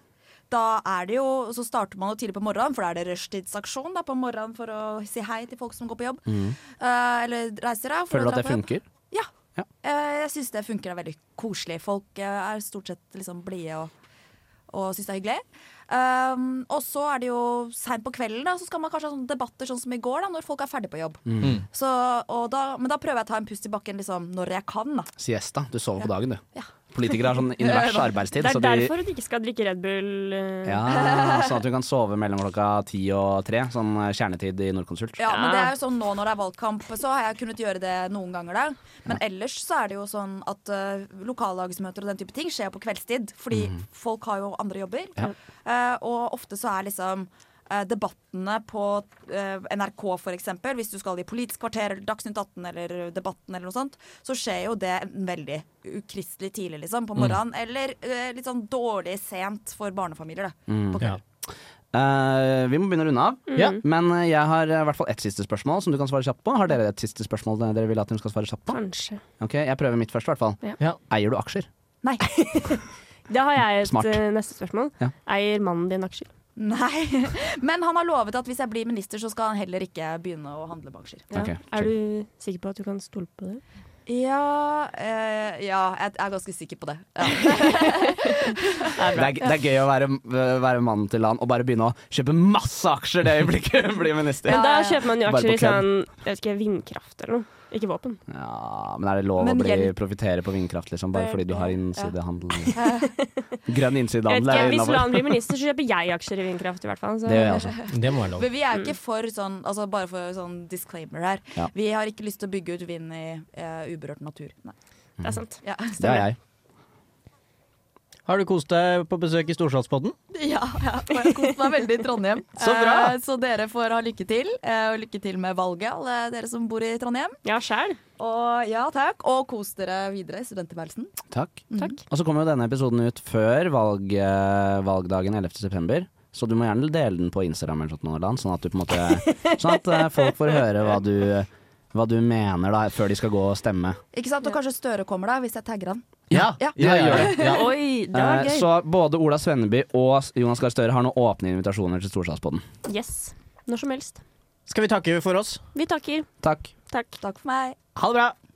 Da er det jo, Så starter man jo tidlig på morgenen, for da er det rushtidsaksjon da, på morgenen for å si hei til folk som går på jobb. Eh, eller reiser, da. for
Mm. Føler
å
du at
dra
det
på jobb.
funker?
Ja.
Ja.
Eh, jeg syns det funker. Det er veldig koselig. Folk eh, er stort sett liksom blide og, og syns det er hyggelig. Um, og så er det jo seint på kvelden, da, så skal man kanskje ha sånne debatter sånn som i går, da, når folk er ferdig på jobb.
Mm.
Så, og da, men da prøver jeg å ta en pust i bakken liksom, når jeg kan, da.
Siesta. Du sover på dagen, du.
Ja.
Politikere har sånn invers arbeidstid.
Det er
så altså de-
derfor du ikke skal drikke Red Bull. eh.
Ja, sånn at du kan sove mellom klokka ti og tre. Sånn eh, kjernetid i Norconsult.
Ja, men
Ja.
det er jo sånn nå når det er valgkamp, så har jeg kunnet gjøre det noen ganger. da. Men ellers så er det jo sånn at eh, lokallagsmøter og den type ting skjer på kveldstid. Fordi folk har jo andre jobber. Eh, og ofte så er liksom eh, debattene på eh, NRK for eksempel, hvis du skal i Politisk kvarter eller Dagsnytt 18 eller Debatten eller noe sånt, så skjer jo det enten veldig ukristelig tidlig liksom, på morgenen, eller eh, litt sånn dårlig sent for barnefamilier. da, på
Ja.
kvelden.
Eh, vi må begynne å runde av.
Ja.
Men eh, jeg har eh, i hvert fall ett siste spørsmål som du kan svare kjapt på. Har dere et siste spørsmål dere vil at hun skal svare kjapt på?
Kanskje.
Ok, Jeg prøver mitt først, i hvert fall.
Ja.
Ja.
Eier du aksjer?
Nei.
Da har jeg et
Smart.
eh, neste spørsmål.
Ja.
Eier mannen din aksjer?
Nei, men han har lovet at hvis jeg blir minister, så skal han heller ikke begynne å handle med aksjer.
Ja.
Ok,
er du sikker på at du kan stole på det?
Ja, eh, ja jeg, jeg er ganske sikker på det. Ja.
Det er, det er gøy å være, være mannen til han og bare begynne å kjøpe masse aksjer det øyeblikket hun blir minister.
Men
Ja,
da
ja.
kjøper man jo
Bare på
aksjer i
kødd.
sånn jeg vet ikke, vindkraft eller noe. Ikke våpen.
Ja, men er det lov
Men
å bli,
hjelp.
profitere på vindkraft, liksom, bare fordi du har innsidehandel? Grønn
Jeg
innsidehandel
vet
er
ikke, Hvis
innafor.
Lan blir minister, så kjøper jeg aksjer i vindkraft i hvert fall. Så.
Det gjør jeg også.
Det må være lov.
Men vi er ikke for sånn, altså bare for sånn disclaimer her.
Ja.
Vi har ikke lyst til å bygge ut vind i eh, uberørt natur. Nei.
Det er sant.
Ja,
Det er jeg.
Har du kost deg på besøk i Storsalspodden?
Ja, ja. og Jeg koste meg veldig i Trondheim.
Så bra.
Eh, så dere får ha lykke til, eh, og lykke til med valget, alle dere som bor i Trondheim.
Ja, sjæl.
Og ja, takk. Og kos dere videre i studenttilværelsen.
Takk.
Mm.
Takk.
Og så kommer jo denne episoden ut før valg, eh, valgdagen 11. september. Så du må gjerne dele den på Instagram, eller sånt, Nolan, sånn at, du på en måte, sånn at eh, folk får høre hva du, hva du mener da, før de skal gå og stemme.
Ikke sant? Og kanskje Støre kommer da, hvis jeg tagger han.
Ja,
Ja.
gjør det. Ja.
Oi, det
Eh,
var gøy.
Så både Ola Svenneby og S- Jonas Gahr Støre har nå åpne invitasjoner til Storsalspodden.
Yes. Når som helst.
Skal vi takke for oss?
Vi takker.
Takk.
Takk.
Takk for meg.
Ha det bra!